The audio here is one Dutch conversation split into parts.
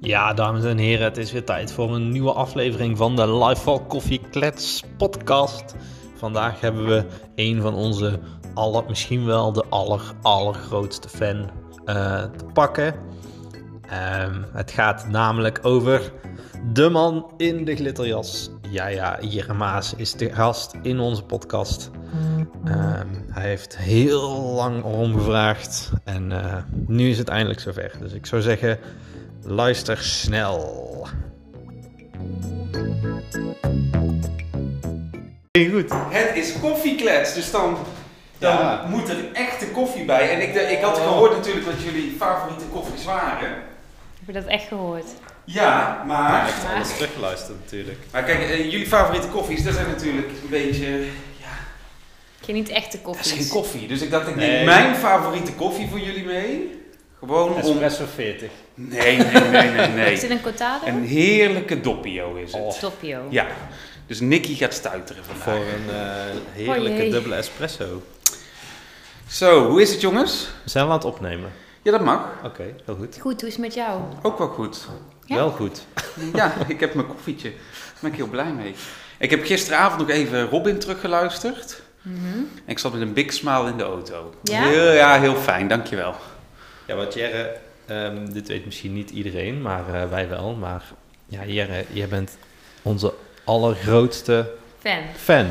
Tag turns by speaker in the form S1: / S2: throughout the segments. S1: Ja, dames en heren, het is weer tijd voor een nieuwe aflevering van de Lifeval Coffee Klets podcast. Vandaag hebben we een van onze aller, misschien wel de aller, allergrootste fan eh, te pakken. Ehm, het gaat namelijk over de man in de glitterjas. Ja, ja, Jeremaas is de gast in onze podcast. Ehm, hij heeft heel lang erom gevraagd en eh, nu is het eindelijk zover. Dus ik zou zeggen, luister snel. Goed.
S2: Het is koffieklets, dus dan, dan
S1: Ja.
S2: moet er echte koffie bij. En ik, de- ik had gehoord natuurlijk wat jullie favoriete koffies waren.
S3: Heb je dat echt gehoord?
S2: Ja, maar...
S3: heeft alles
S1: teruggeluisterd natuurlijk.
S2: Maar kijk, eh, jullie favoriete koffies, dat zijn natuurlijk een beetje... Ja,
S3: Ik ken niet echte
S2: dat
S3: koffies.
S2: is geen koffie. Dus ik dacht, ik neem
S1: Nee.
S2: mijn favoriete koffie voor jullie mee. Gewoon om...
S1: Espresso 40.
S2: Nee, nee, nee, nee,
S3: Is
S2: nee.
S3: dit een Oh. cortado?
S2: Een heerlijke doppio is het.
S3: Doppio.
S2: Ja. Dus Nicky gaat stuiteren vandaag.
S1: Voor een eh,
S3: Oh
S1: heerlijke
S3: jee.
S1: dubbele espresso.
S2: Zo, hoe is het jongens?
S1: We zijn aan het opnemen.
S2: Ja, dat mag.
S1: Oké, heel goed.
S3: Goed, hoe is het met jou?
S2: Ook wel goed.
S3: Ja?
S1: Wel goed.
S2: Ja, ik heb mijn koffietje. Daar ben ik heel blij mee. Ik heb gisteravond nog even Robin teruggeluisterd.
S3: Mhm.
S2: En ik zat met een big smile in de auto.
S3: Ja?
S2: Heel, ja, heel fijn, dankjewel.
S1: Ja, want Jerre, ehm, dit weet misschien niet iedereen, maar eh, wij wel. Maar ja, Jerre, jij bent onze allergrootste
S3: Fan.
S1: fan.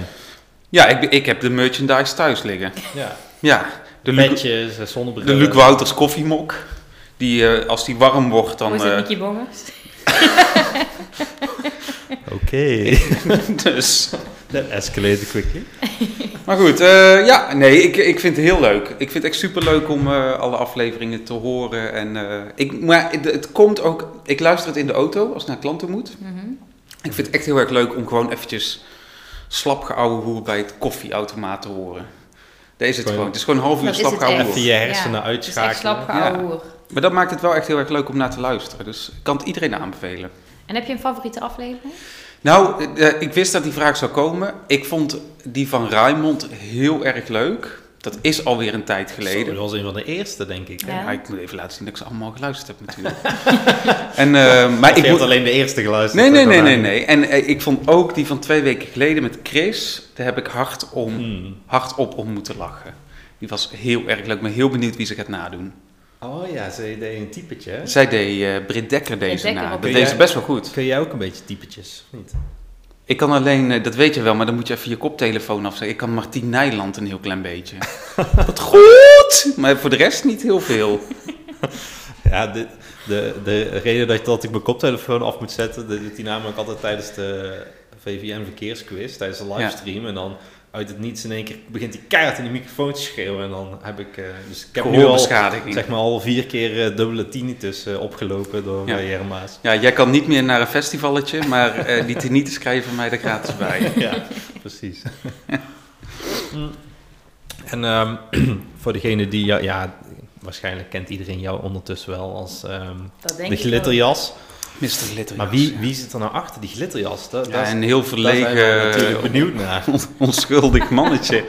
S2: Ja, ik, ben- ik heb de merchandise thuis liggen.
S1: Ja.
S2: Ja, de,
S1: De
S2: Luc,
S1: Petjes, eh, zonnebrillen.
S2: de Luc Wouters koffiemok. Die, eh, als die warm wordt, dan...
S3: hoe is het
S2: eh,
S3: met Nicky Bongers?
S1: Oké.
S2: dus.
S1: That escalated quickly.
S2: Maar goed, eh, ja, nee, ik, ik vind het heel leuk. Ik vind het echt superleuk om eh, alle afleveringen te horen. En, eh, ik, maar het, het komt ook... Ik luister het in de auto, als ik naar klanten moet.
S3: Mhm.
S2: Ik vind het echt heel erg leuk om gewoon eventjes slap geouwe hoer bij het koffieautomaat te horen. Daar is het
S1: Kan je-
S2: gewoon. Het is gewoon een half uur
S3: Dat is
S2: slap
S3: het
S2: geouwe
S3: echt.
S1: Even je
S2: hoer.
S3: Ja,
S1: hersenen
S3: Het is
S1: uitschakelen.
S3: echt slap
S2: Ja.
S3: gehouden.
S2: Maar dat maakt het wel echt heel erg leuk om naar te luisteren. Dus ik kan het iedereen aanbevelen.
S3: En heb je een favoriete aflevering?
S2: Nou, eh, ik wist dat die vraag zou komen. Ik vond die van Raymond heel erg leuk. Dat is alweer een tijd
S1: Zo,
S2: geleden.
S1: dat was een van de eerste, denk ik.
S3: Ja.
S1: Ja.
S2: Ja, ik moet even laten zien dat ik ze allemaal geluisterd heb natuurlijk. en, eh, maar ik moet...
S1: alleen de eerste geluisterd.
S2: Nee, nee, nee,
S1: daarna
S2: nee,
S1: niet.
S2: nee. En eh, ik vond ook die van twee weken geleden met Chris, daar heb ik hard om
S1: Hmm.
S2: hardop om moeten lachen. Die was heel erg leuk. Ik ben heel benieuwd wie ze gaat nadoen.
S1: Oh ja, ze deed een typetje. hè?
S2: Zij deed eh Britt Dekker deze
S3: Dekker
S2: na.
S3: op-
S2: Dat
S1: Kun
S2: deed ze
S1: jij-
S2: best wel goed.
S1: Kun jij ook een beetje typetjes? of Niet?
S2: Ik kan alleen, eh, dat weet je wel, maar dan moet je even je koptelefoon afzetten. Ik kan Martien Nijland een heel klein beetje. Wat goed! Maar voor de rest niet heel veel.
S1: Ja, de, de, de reden dat, dat ik mijn koptelefoon af moet zetten, dat doet hij namelijk altijd tijdens de VVM verkeersquiz, tijdens de livestream. En dan uit het niets in één keer begint hij keihard in die microfoon te schreeuwen. En dan heb ik, eh, dus ik heb nu al,
S2: Gehoorbeschadiging.
S1: zeg maar, al vier keer eh, dubbele tinnitus eh, opgelopen door
S2: Ja.
S1: ja. Jerma's.
S2: Ja, jij kan niet meer naar een festivalletje, maar eh, die tinnitus krijg je van mij er gratis bij.
S1: ja, precies. Mm. en ehm, voor degene die jou, ja, waarschijnlijk kent iedereen jou ondertussen wel als ehm,
S3: Dat denk
S1: de
S3: ik
S1: glitterjas.
S2: Mr. Glitter.
S1: Maar wie, wie zit er nou achter die glitterjas? Dat,
S2: Ja, eh,
S1: dat is-
S2: een heel
S1: daar zijn we natuurlijk
S2: verlegen,
S1: benieuwd naar.
S2: onschuldig mannetje.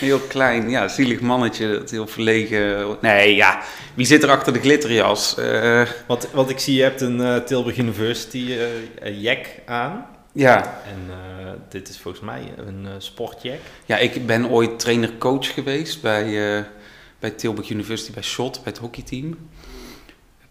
S2: heel klein, ja, zielig mannetje. Dat heel verlegen. Nee, ja. Wie zit er achter de glitterjas? Eh,
S1: Want, want ik zie, je hebt een eh, Tilburg University eh, eh, jack aan.
S2: ja.
S1: En eh, dit is volgens mij een eh, sportjack.
S2: ja, ik ben ooit trainer-coach geweest bij, eh, bij Tilburg University, bij SHOT, bij het hockeyteam. Een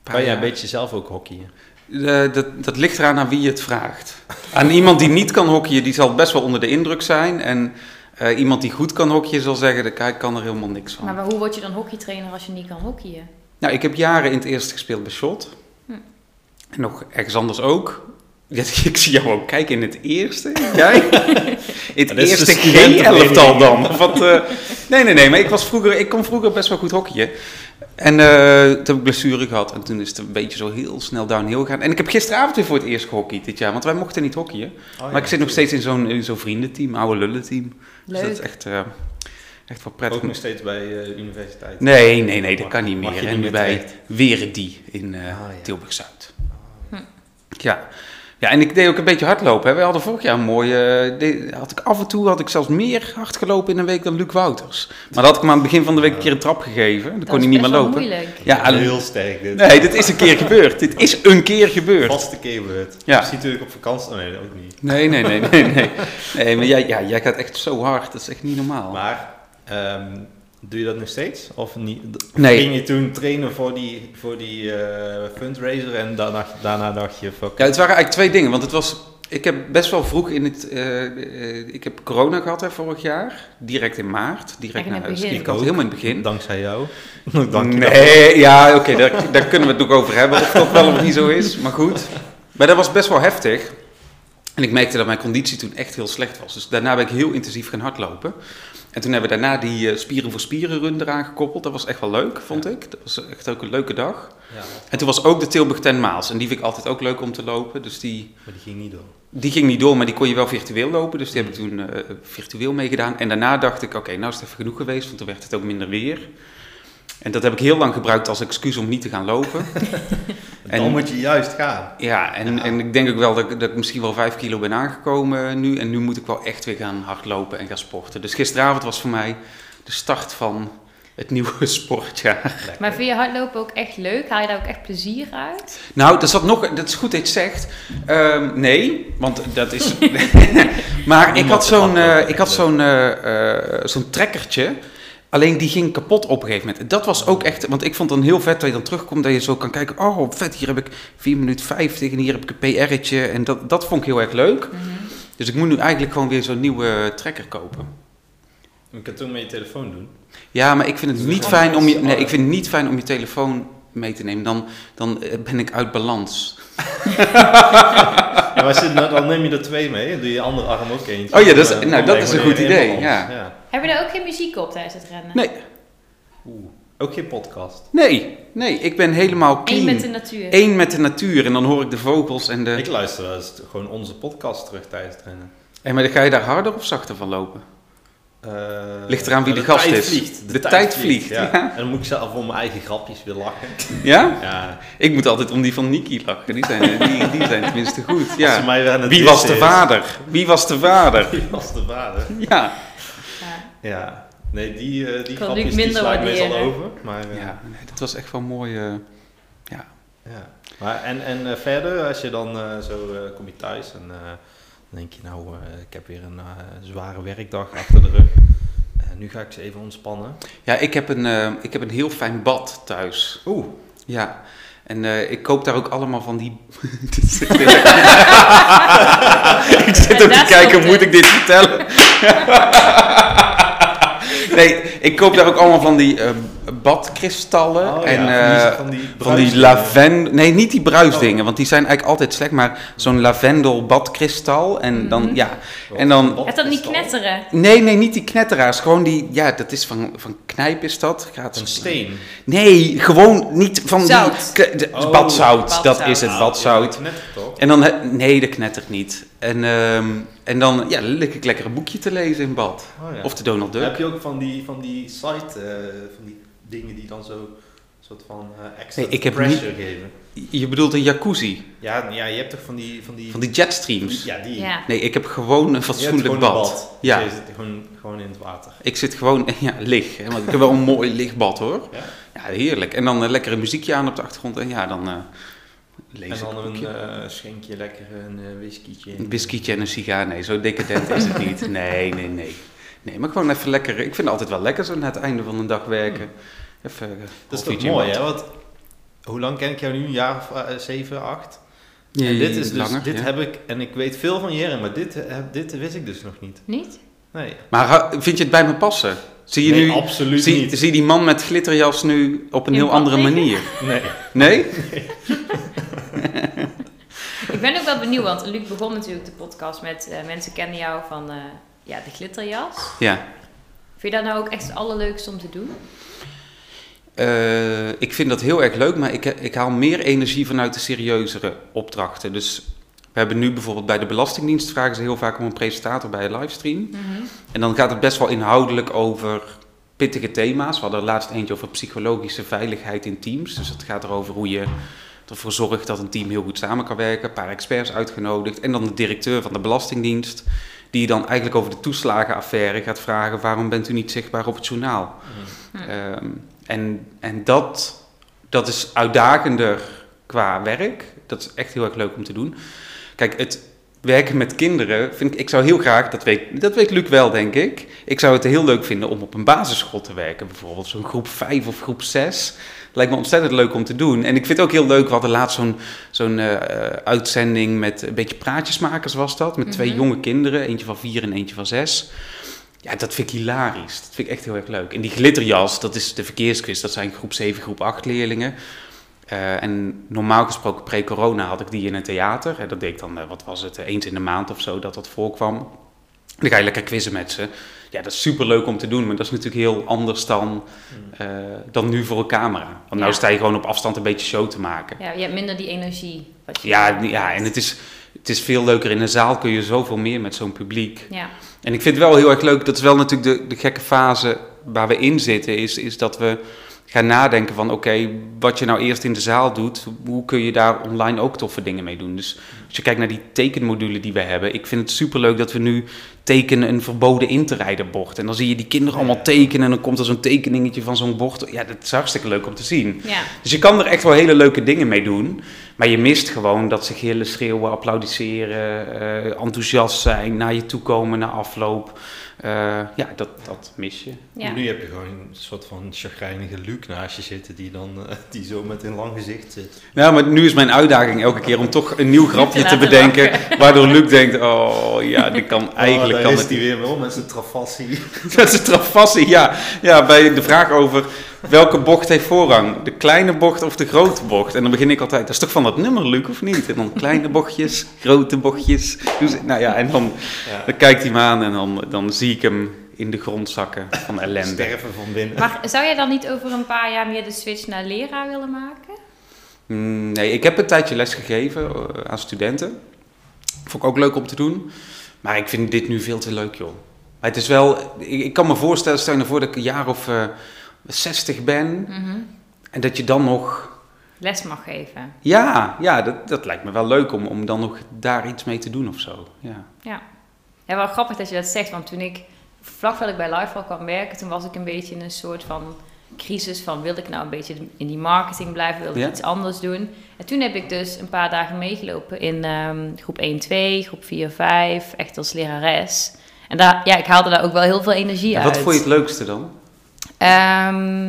S2: paar
S1: Kan jij
S2: jaar.
S1: Oh een beetje zelf ook Oh, hockeyen?
S2: Eh, dat, dat ligt eraan aan wie je het vraagt. Aan iemand die niet kan hockeyen, die zal best wel onder de indruk zijn. En eh, iemand die goed kan hockeyen zal zeggen, kijk, ik kan er helemaal niks van.
S3: Maar, maar hoe word je dan hockeytrainer als je niet kan hockeyen?
S2: Nou, ik heb jaren in het eerste gespeeld bij Shot.
S3: Hm.
S2: En nog ergens anders ook. Ja, ik zie jou ook kijken in het eerste. Jij? In
S1: Ja,
S2: het
S1: dit is de
S2: eerste
S1: studentenvereniging.
S2: G-elftal dan. Of Wat, eh, nee, nee, nee. Maar ik, was vroeger, ik kon vroeger best wel goed hockeyen. En eh, toen heb ik blessure gehad. En toen is het een beetje zo heel snel downhill gegaan. En ik heb gisteravond weer voor het eerst gehockeyd dit jaar. Want wij mochten niet hockeyen.
S1: Oh
S2: maar ik zit nog steeds in zo'n in zo'n vriendenteam. Oude lullenteam. Dus dat
S3: Leuk.
S2: is echt, eh, echt wel
S1: Ook
S2: prettig.
S1: nog steeds bij eh, de universiteit.
S2: Nee, nee, nee, dat kan niet
S1: Mag
S2: meer.
S1: je
S2: En nu
S1: meer
S2: bij
S1: terecht.
S2: Weredi in eh,
S1: Ah, ja.
S2: Tilburg-Zuid.
S3: Hm.
S2: Ja, Ja, en ik deed ook een beetje hardlopen. Hè. We hadden vorig jaar een mooie... eh, de- had ik af en toe had ik zelfs meer hard gelopen in een week dan Luc Wouters. Maar dat had ik hem aan het begin van de week een keer een trap gegeven. Dan
S3: Dat
S2: kon
S3: is
S2: hij niet meer
S3: best wel
S2: lopen.
S3: moeilijk.
S2: Ja, en-
S1: heel sterk dit.
S2: nee, dit is een keer gebeurd. Dit is een keer gebeurd.
S1: Vaste keerbeurt.
S2: Ja.
S1: Ja. Is natuurlijk op vakantie. oh, Nee, ook niet.
S2: Nee, nee, nee, nee, nee. Nee, maar jij, ja, jij gaat echt zo hard. Dat is echt niet normaal.
S1: Maar ehm, doe je dat nog steeds? Of niet? D-
S2: Nee.
S1: Ging je toen trainen voor die, voor die eh, fundraiser en daarna, daarna dacht je, fuck.
S2: Ja, het waren eigenlijk twee dingen. Want het was. Ik heb best wel vroeg in het. eh, eh, ik heb corona gehad hè, vorig jaar. Direct in maart. Direct
S3: Echt in
S2: naar
S3: het
S2: huis.
S3: begin.
S2: Ik had helemaal in het begin.
S1: Dankzij jou. Dank je wel.
S2: nee, ja, oké. daar, daar kunnen we het ook over hebben. Of dat wel of niet zo is. Maar goed. Maar dat was best wel heftig. En ik merkte dat mijn conditie toen echt heel slecht was. Dus daarna ben ik heel intensief gaan hardlopen. En toen hebben we daarna die eh, spieren voor spieren run eraan gekoppeld. Dat was echt wel leuk, vond ik. Dat was echt ook een leuke dag.
S1: Ja,
S2: En toen was ook de Tilburg ten Maals. En die vind ik altijd ook leuk om te lopen. Dus die
S1: maar die ging niet door.
S2: die ging niet door, maar die kon je wel virtueel lopen. Dus die heb ik toen eh, virtueel meegedaan. En daarna dacht ik, oké, nou is het even genoeg geweest, want toen werd het ook minder weer. En dat heb ik heel lang gebruikt als excuus om niet te gaan lopen.
S1: Dan
S2: En-
S1: moet je juist gaan.
S2: ja, en, en ik denk ook wel dat, ik- dat ik misschien wel vijf kilo ben aangekomen nu. En nu moet ik wel echt weer gaan hardlopen en gaan sporten. Dus gisteravond was voor mij de start van het nieuwe sportjaar.
S3: Maar vind je hardlopen ook echt leuk? Haal je daar ook echt plezier uit?
S2: Nou, dat, zat nog, dat is goed dat je het zegt. Ehm, nee, want dat is. maar ik had zo'n eh, ik had zo'n eh, eh, zo'n trekkertje. Alleen die ging kapot op een gegeven moment. En Dat was ook echt. Want ik vond dan heel vet dat je dan terugkomt. Dat je zo kan kijken. Oh, vet. Hier heb ik 4 minuten 50. En hier heb ik een PR'tje. En dat, dat vond ik heel erg leuk. Dus ik moet nu eigenlijk gewoon weer zo'n nieuwe trekker kopen.
S1: Je kunt het ook met je telefoon doen.
S2: Ja, maar ik vind het
S1: Dus
S2: niet
S1: gewoon
S2: fijn om je,
S1: alles-
S2: nee, ik vind het niet fijn om je telefoon mee te nemen. Dan, dan eh, ben ik uit balans.
S1: Ja, maar zit, nou, dan neem je er twee mee en doe je andere arm ook eentje.
S2: Oh ja, dat is-
S1: En, eh, dan
S2: nou,
S1: ben
S2: dat
S1: je
S2: is een
S1: gewoon
S2: goed
S1: helemaal
S2: idee,
S1: ons.
S2: ja.
S3: Heb je daar ook geen muziek op tijdens het rennen?
S2: Nee.
S1: Oeh, ook geen podcast.
S2: Nee, nee, ik ben helemaal clean.
S3: Eén met de natuur.
S2: Eén met de natuur. En dan hoor ik de vogels en de...
S1: Ik luister wel eens gewoon onze podcast terug tijdens het rennen.
S2: Hey, maar dan ga je daar harder of zachter van lopen?
S1: Eh,
S2: Ligt eraan wie
S1: de
S2: de gast
S1: tijd
S2: is.
S1: Vliegt.
S2: De tijd vliegt,
S1: ja. En dan moet ik zelf om mijn eigen grapjes weer lachen.
S2: Ja?
S1: Ja,
S2: Ik moet altijd om die van Niki lachen. Die zijn, eh, die, die zijn tenminste goed.
S1: als ze
S2: Ja.
S1: mij weer aan het
S2: Wie was de
S1: dissen is.
S2: vader? Wie was de vader?
S1: Wie was de vader?
S2: Ja.
S3: Ja.
S1: Ja. Nee, die, eh, die
S3: kan
S1: grapjes
S3: Luc
S1: die
S3: minder
S1: sla ik meestal
S3: waarderen.
S1: over. Maar, eh, ja.
S2: ja nee, dat was echt wel mooi. eh,
S1: Maar, en en eh, verder, als je dan eh, zo eh, kom je thuis en eh, dan denk je nou, eh, ik heb weer een eh, zware werkdag achter de rug. Eh, nu ga ik ze even ontspannen.
S2: Ja, ik heb, een, eh, ik heb een heel fijn bad thuis.
S1: Oeh,
S2: Ja, en eh, ik koop daar ook allemaal van die. Dit is echt heel erg. ik zit
S3: En
S2: ook te
S3: daar
S2: kijken,
S3: stopt
S2: moet
S3: het.
S2: ik dit vertellen? nee, ik koop daar ook allemaal van die eh, badkristallen.
S1: Oh, ja,
S2: en,
S1: van
S2: eh,
S1: die,
S2: van die
S1: bruisdingen. Oh.
S2: lavendel. Nee, niet die bruisdingen, want die zijn eigenlijk altijd slecht. Maar zo'n lavendel badkristal. En dan,
S3: Mhm.
S2: ja. En dan.
S3: Gaat dat niet knetteren?
S2: Nee, nee, niet die knetteraars. Gewoon die. Ja, dat is van, van knijp is dat. Gaat
S1: Een steen.
S2: Nee, gewoon niet van
S3: Zout.
S2: die... k- de-
S1: Oh. Ah,
S2: badzout, dat
S3: Badzout.
S2: is het, badzout.
S1: Ja, net toch?
S2: En dan, he- nee, dat knettert niet. En, ehm, en dan ja, lig ik lekker een boekje te lezen in bad.
S1: Oh, ja.
S2: Of de Donald Duck.
S1: heb je ook van die, van die site, eh, van die dingen die dan zo soort van eh, extra
S2: Nee, ik heb
S1: pressure geven?
S2: Je bedoelt een jacuzzi,
S1: Ja, ja, je hebt toch van die... Van die,
S2: van die jetstreams.
S1: Ja, die.
S3: Ja.
S2: Nee, ik heb gewoon een
S1: Je hebt gewoon
S2: fatsoenlijk
S1: een
S2: bad. Ja.
S1: Dus je zit gewoon, gewoon in het water.
S2: Ik zit gewoon, ja, lig. hè, Want ik heb wel een mooi lichtbad hoor.
S1: Ja?
S2: Ja, heerlijk. En dan eh, lekker een muziekje aan op de achtergrond. En ja, dan eh, lees
S1: En
S2: ik
S1: dan
S2: een
S1: een
S2: boekje.
S1: eh schenk je lekker een eh whiskietje. in.
S2: Een biscuitje en een sigaar, nee, zo decadent is het niet. Nee, nee, nee. Nee, maar gewoon even lekker. Ik vind het altijd wel lekker zo na het einde van de dag werken. Even, eh,
S1: Dat is toch
S2: koffietje in
S1: mooi,
S2: bad.
S1: hè? Want hoe lang ken ik jou nu? Een jaar of eh, zeven, acht?
S2: Ja,
S1: en dit is dus,
S2: langer,
S1: dit
S2: ja.
S1: heb ik, en ik weet veel van Jeren, maar dit, heb- dit wist ik dus nog niet.
S3: Niet?
S1: Nee,
S2: Maar ha- vind je het bij me passen? Zie je
S1: Nee,
S2: nu...
S1: absoluut
S2: zie,
S1: niet.
S2: zie die man met glitterjas nu op een
S3: In
S2: heel
S3: bad
S2: andere
S3: liggen?
S2: manier.
S1: Nee.
S2: Nee?
S3: Ik ben ook wel benieuwd, want Luc begon natuurlijk de podcast met eh, mensen kennen jou van eh, ja, de glitterjas.
S2: Ja.
S3: Vind je dat nou ook echt het allerleukste om te doen?
S2: Eh, ik vind dat heel erg leuk, maar ik, ik haal meer energie vanuit de serieuzere opdrachten. Dus we hebben nu bijvoorbeeld bij de Belastingdienst vragen ze heel vaak om een presentator bij een livestream. En dan gaat het best wel inhoudelijk over pittige thema's. We hadden er laatst eentje over psychologische veiligheid in teams. Dus het gaat erover hoe je ervoor zorgt dat een team heel goed samen kan werken. Een paar experts uitgenodigd. En dan de directeur van de Belastingdienst. Die dan eigenlijk over de toeslagenaffaire gaat vragen: waarom bent u niet zichtbaar op het journaal? Ehm, en en dat, dat is uitdagender qua werk. Dat is echt heel erg leuk om te doen. Kijk, het werken met kinderen vind ik, ik zou heel graag, dat weet, dat weet Luc wel denk ik, ik zou het heel leuk vinden om op een basisschool te werken. Bijvoorbeeld zo'n groep 5 of groep 6. Lijkt me ontzettend leuk om te doen. En ik vind het ook heel leuk, we hadden laatst zo'n zo'n eh, eh, uitzending met een beetje praatjesmakers was dat. Met twee
S3: Mhm.
S2: jonge kinderen, eentje van vier en eentje van zes. Ja, dat vind ik hilarisch. Dat vind ik echt heel erg leuk. En die glitterjas, dat is de verkeersquiz. Dat zijn groep 7, groep 8 leerlingen. Eh, en normaal gesproken pre-corona had ik die in een theater. En dat deed ik dan, eh, wat was het, eh, eens in de maand of zo dat dat voorkwam. Dan ga je lekker quizzen met ze. Ja, dat is super leuk om te doen, maar dat is natuurlijk heel anders dan, eh, dan nu voor een camera. Want nou
S3: Ja.
S2: sta je gewoon op afstand een beetje show te maken.
S3: Ja, je hebt minder die energie. Wat je
S2: Ja, ja en het is, het is veel leuker. In een zaal kun je zoveel meer met zo'n publiek.
S3: Ja,
S2: En ik vind het wel heel erg leuk, dat is wel natuurlijk de, de gekke fase waar we in zitten, is, is dat we gaan nadenken van oké, wat je nou eerst in de zaal doet, hoe kun je daar online ook toffe dingen mee doen. Dus als je kijkt naar die tekenmodule die we hebben, ik vind het superleuk dat we nu tekenen een verboden in te rijden bord. En dan zie je die kinderen allemaal tekenen en dan komt er zo'n tekeningetje van zo'n bord. Ja, dat is hartstikke leuk om te zien.
S3: ja.
S2: Dus je kan er echt wel hele leuke dingen mee doen. Maar je mist gewoon dat ze gillen, schreeuwen, applaudisseren, eh, enthousiast zijn, naar je toe komen na afloop. Eh, ja, dat, dat mis je.
S3: ja.
S1: Nu heb je gewoon een soort van chagrijnige Luc naast je zitten die, dan, eh, die zo met een lang gezicht zit.
S2: Nou, maar nu is mijn uitdaging elke keer om toch een nieuw grapje te
S3: laten
S2: bedenken. Waardoor Luc denkt, oh ja, dit kan eigenlijk
S1: Oh, daar
S2: kan
S1: is
S2: het
S1: die weer wel met zijn trafassie.
S2: Dat is een trafassie, ja. Ja, bij de vraag over welke bocht heeft voorrang? De kleine bocht of de grote bocht? En dan begin ik altijd, dat is toch van dat nummer, Luc, of niet? En dan kleine bochtjes, grote bochtjes. Dus, nou ja, en dan,
S1: Ja.
S2: dan kijkt hij me aan en dan, dan zie ik hem in de grond zakken van ellende.
S1: Sterven van binnen.
S3: Maar zou jij dan niet over een paar jaar meer de switch naar leraar willen maken?
S2: Mm, Nee, ik heb een tijdje les gegeven eh, aan studenten. Vond ik ook leuk om te doen. Maar ik vind dit nu veel te leuk, joh. Maar het is wel, ik, ik kan me voorstellen, stel je nou voor dat ik een jaar of eh 60 ben.
S3: Mhm.
S2: En dat je dan nog
S3: Les mag geven.
S2: Ja, ja dat, dat lijkt me wel leuk om, om dan nog daar iets mee te doen of zo. Ja.
S3: Ja. ja. Wel grappig dat je dat zegt, want toen ik vlak voordat ik bij Lifewell kwam werken, toen was ik een beetje in een soort van crisis van wil ik nou een beetje in die marketing blijven, wil ik
S2: Ja.
S3: iets anders doen. En toen heb ik dus een paar dagen meegelopen in ehm, groep 1, 2, groep 4, 5, echt als lerares. En daar, ja, ik haalde daar ook wel heel veel energie
S2: En
S3: uit.
S2: wat vond je het leukste dan?
S3: Ehm,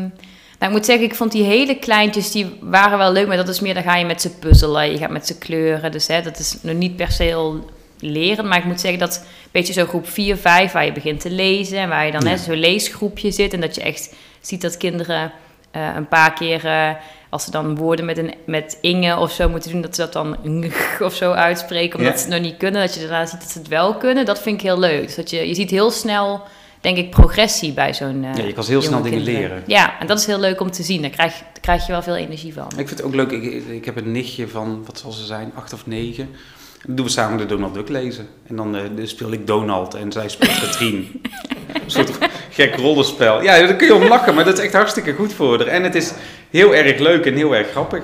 S3: nou, ik moet zeggen, ik vond die hele kleintjes, die waren wel leuk. Maar dat is meer, dan ga je met ze puzzelen. Je gaat met ze kleuren. Dus hè, dat is nog niet per se heel leren. Maar ik moet zeggen, dat een beetje zo groep 4, 5, waar je begint te lezen. En waar je dan
S2: Ja.
S3: net zo'n leesgroepje zit. En dat je echt ziet dat kinderen eh, een paar keer... eh, als ze dan woorden met, een, met Inge of zo moeten doen, dat ze dat dan of zo uitspreken, omdat
S2: Ja.
S3: ze het nog niet kunnen. Dat je daarna ziet dat ze het wel kunnen, dat vind ik heel leuk. Dus dat je, je ziet heel snel denk ik, progressie bij zo'n. eh,
S2: Ja, je kan heel snel
S3: jonge
S2: dingen
S3: kinderen.
S2: leren.
S3: Ja, en dat is heel leuk om te zien. Daar krijg, daar krijg je wel veel energie van.
S2: Ik vind het ook leuk, ik, ik heb een nichtje van, wat zal ze zijn, acht of negen. Dan doen we samen de Donald Duck lezen. En dan eh, dan speel ik Donald en zij speelt Katrien. een soort gek rollenspel. Ja, daar kun je om lachen, maar dat is echt hartstikke goed voor haar. En het is heel erg leuk en heel erg grappig.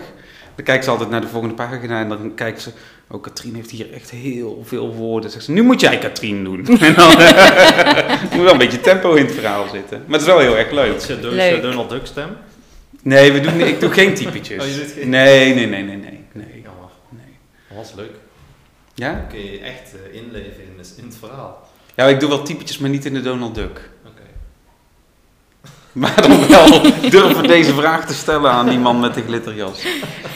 S2: Dan kijkt ze altijd naar de volgende pagina en dan kijkt ze... Oh, Katrien heeft hier echt heel veel woorden. Zegt ze, nu moet jij Katrien doen. En dan moet wel een beetje tempo in het verhaal zitten. Maar het is wel heel erg leuk.
S1: Is dat Do-
S3: Leuk.
S1: is dat Donald Duck stem?
S2: Nee, we doen, ik doe geen typetjes.
S1: Oh, je doet geen-
S2: Nee, nee, nee, nee, nee. nee.
S1: Jammer.
S2: nee.
S1: Dat was leuk.
S2: Ja?
S1: Dan kun je je echt eh, inleven in, het- in het verhaal.
S2: Ja, ik doe wel typetjes, maar niet in de Donald Duck.
S1: Oké.
S2: Maar dan wel durven deze vraag te stellen aan die man met de glitterjas.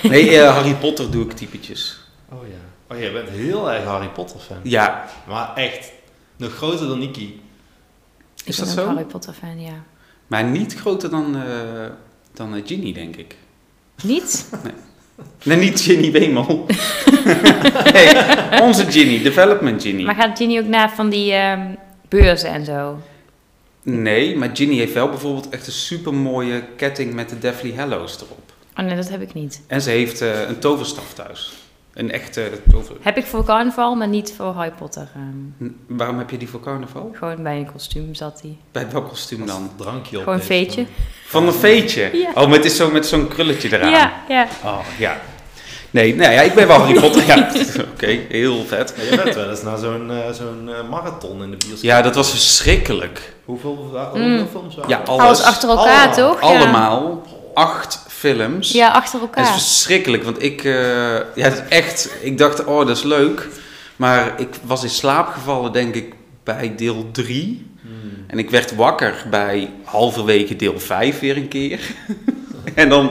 S2: Nee, eh, Harry Potter doe ik typetjes.
S1: Oh ja. Oh, jij bent heel erg Harry Potter fan.
S2: Ja.
S1: Maar echt, nog groter dan Nicky.
S2: Is
S3: ik
S2: dat
S3: ben
S2: zo?
S3: ook Harry Potter fan, ja.
S2: Maar niet groter dan, eh dan eh, Ginny, denk ik.
S3: Niet?
S2: Nee, niet Ginny Wemel. nee, onze Ginny, Development
S3: Maar
S2: Ginny.
S3: gaat Ginny ook naar van die ehm, beurzen en zo?
S2: Nee, maar Ginny heeft wel bijvoorbeeld echt een supermooie ketting met de Deathly Hallows erop.
S3: Oh nee, dat heb ik niet.
S2: En ze heeft eh, een toverstaf thuis. Een echte tover.
S3: Heb ik voor carnaval, maar niet voor Harry Potter. ehm.
S2: N- Waarom heb je die voor carnaval?
S3: gewoon bij een kostuum zat hij.
S2: Bij welk kostuum dan?
S1: Dan drankje op.
S3: Gewoon
S1: heeft,
S3: veetje.
S1: dan-
S2: Van een veetje.
S3: Ja.
S2: Oh, maar het is zo met zo'n krulletje eraan.
S3: Ja, ja.
S2: Oh, ja. Nee, nou ja, ik ben wel Harry Potter. Ja, oké, heel vet.
S1: Maar je bent wel eens naar zo'n eh, zo'n eh, marathon in de bioscoop.
S2: Ja, dat was verschrikkelijk.
S1: Hoeveel, hoeveel films waren
S2: Ja,
S1: er?
S2: alles.
S3: Mm. Alles achter elkaar,
S1: Allemaal.
S3: toch? Ja.
S2: Allemaal acht films.
S3: Ja, achter
S2: Het is
S3: elkaar.
S2: verschrikkelijk, want ik, eh, ja, het is echt, ik dacht, oh, dat is leuk. Maar ik was in slaap gevallen, denk ik, bij deel 3.
S1: Hmm.
S2: En ik werd wakker bij halverwege deel 5 weer een keer. en dan,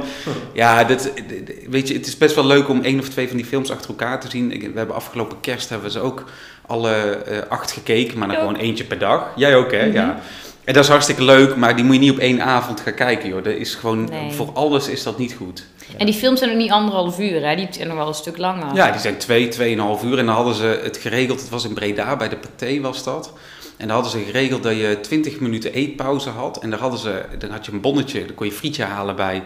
S2: ja, dit, dit- weet je, het is best wel leuk om één of twee van die films achter elkaar te zien. Ik- We hebben afgelopen kerst hebben we ze ook alle eh, acht gekeken, maar dan
S3: Ik ook.
S2: gewoon eentje per dag. Jij ook, hè?
S3: Mhm.
S2: Ja. En dat is hartstikke leuk, maar die moet je niet op één avond gaan kijken, joh. Dat is gewoon,
S3: Nee.
S2: voor alles is dat niet goed.
S3: En die films zijn nog niet anderhalf uur, hè? Die zijn nog wel een stuk langer.
S2: Ja, die zijn twee, tweeënhalf uur. En dan hadden ze het geregeld, het was in Breda, bij de Pathé was dat. En dan hadden ze geregeld dat je 20 minuten eetpauze had. En daar hadden ze, dan had je een bonnetje, dan kon je frietje halen bij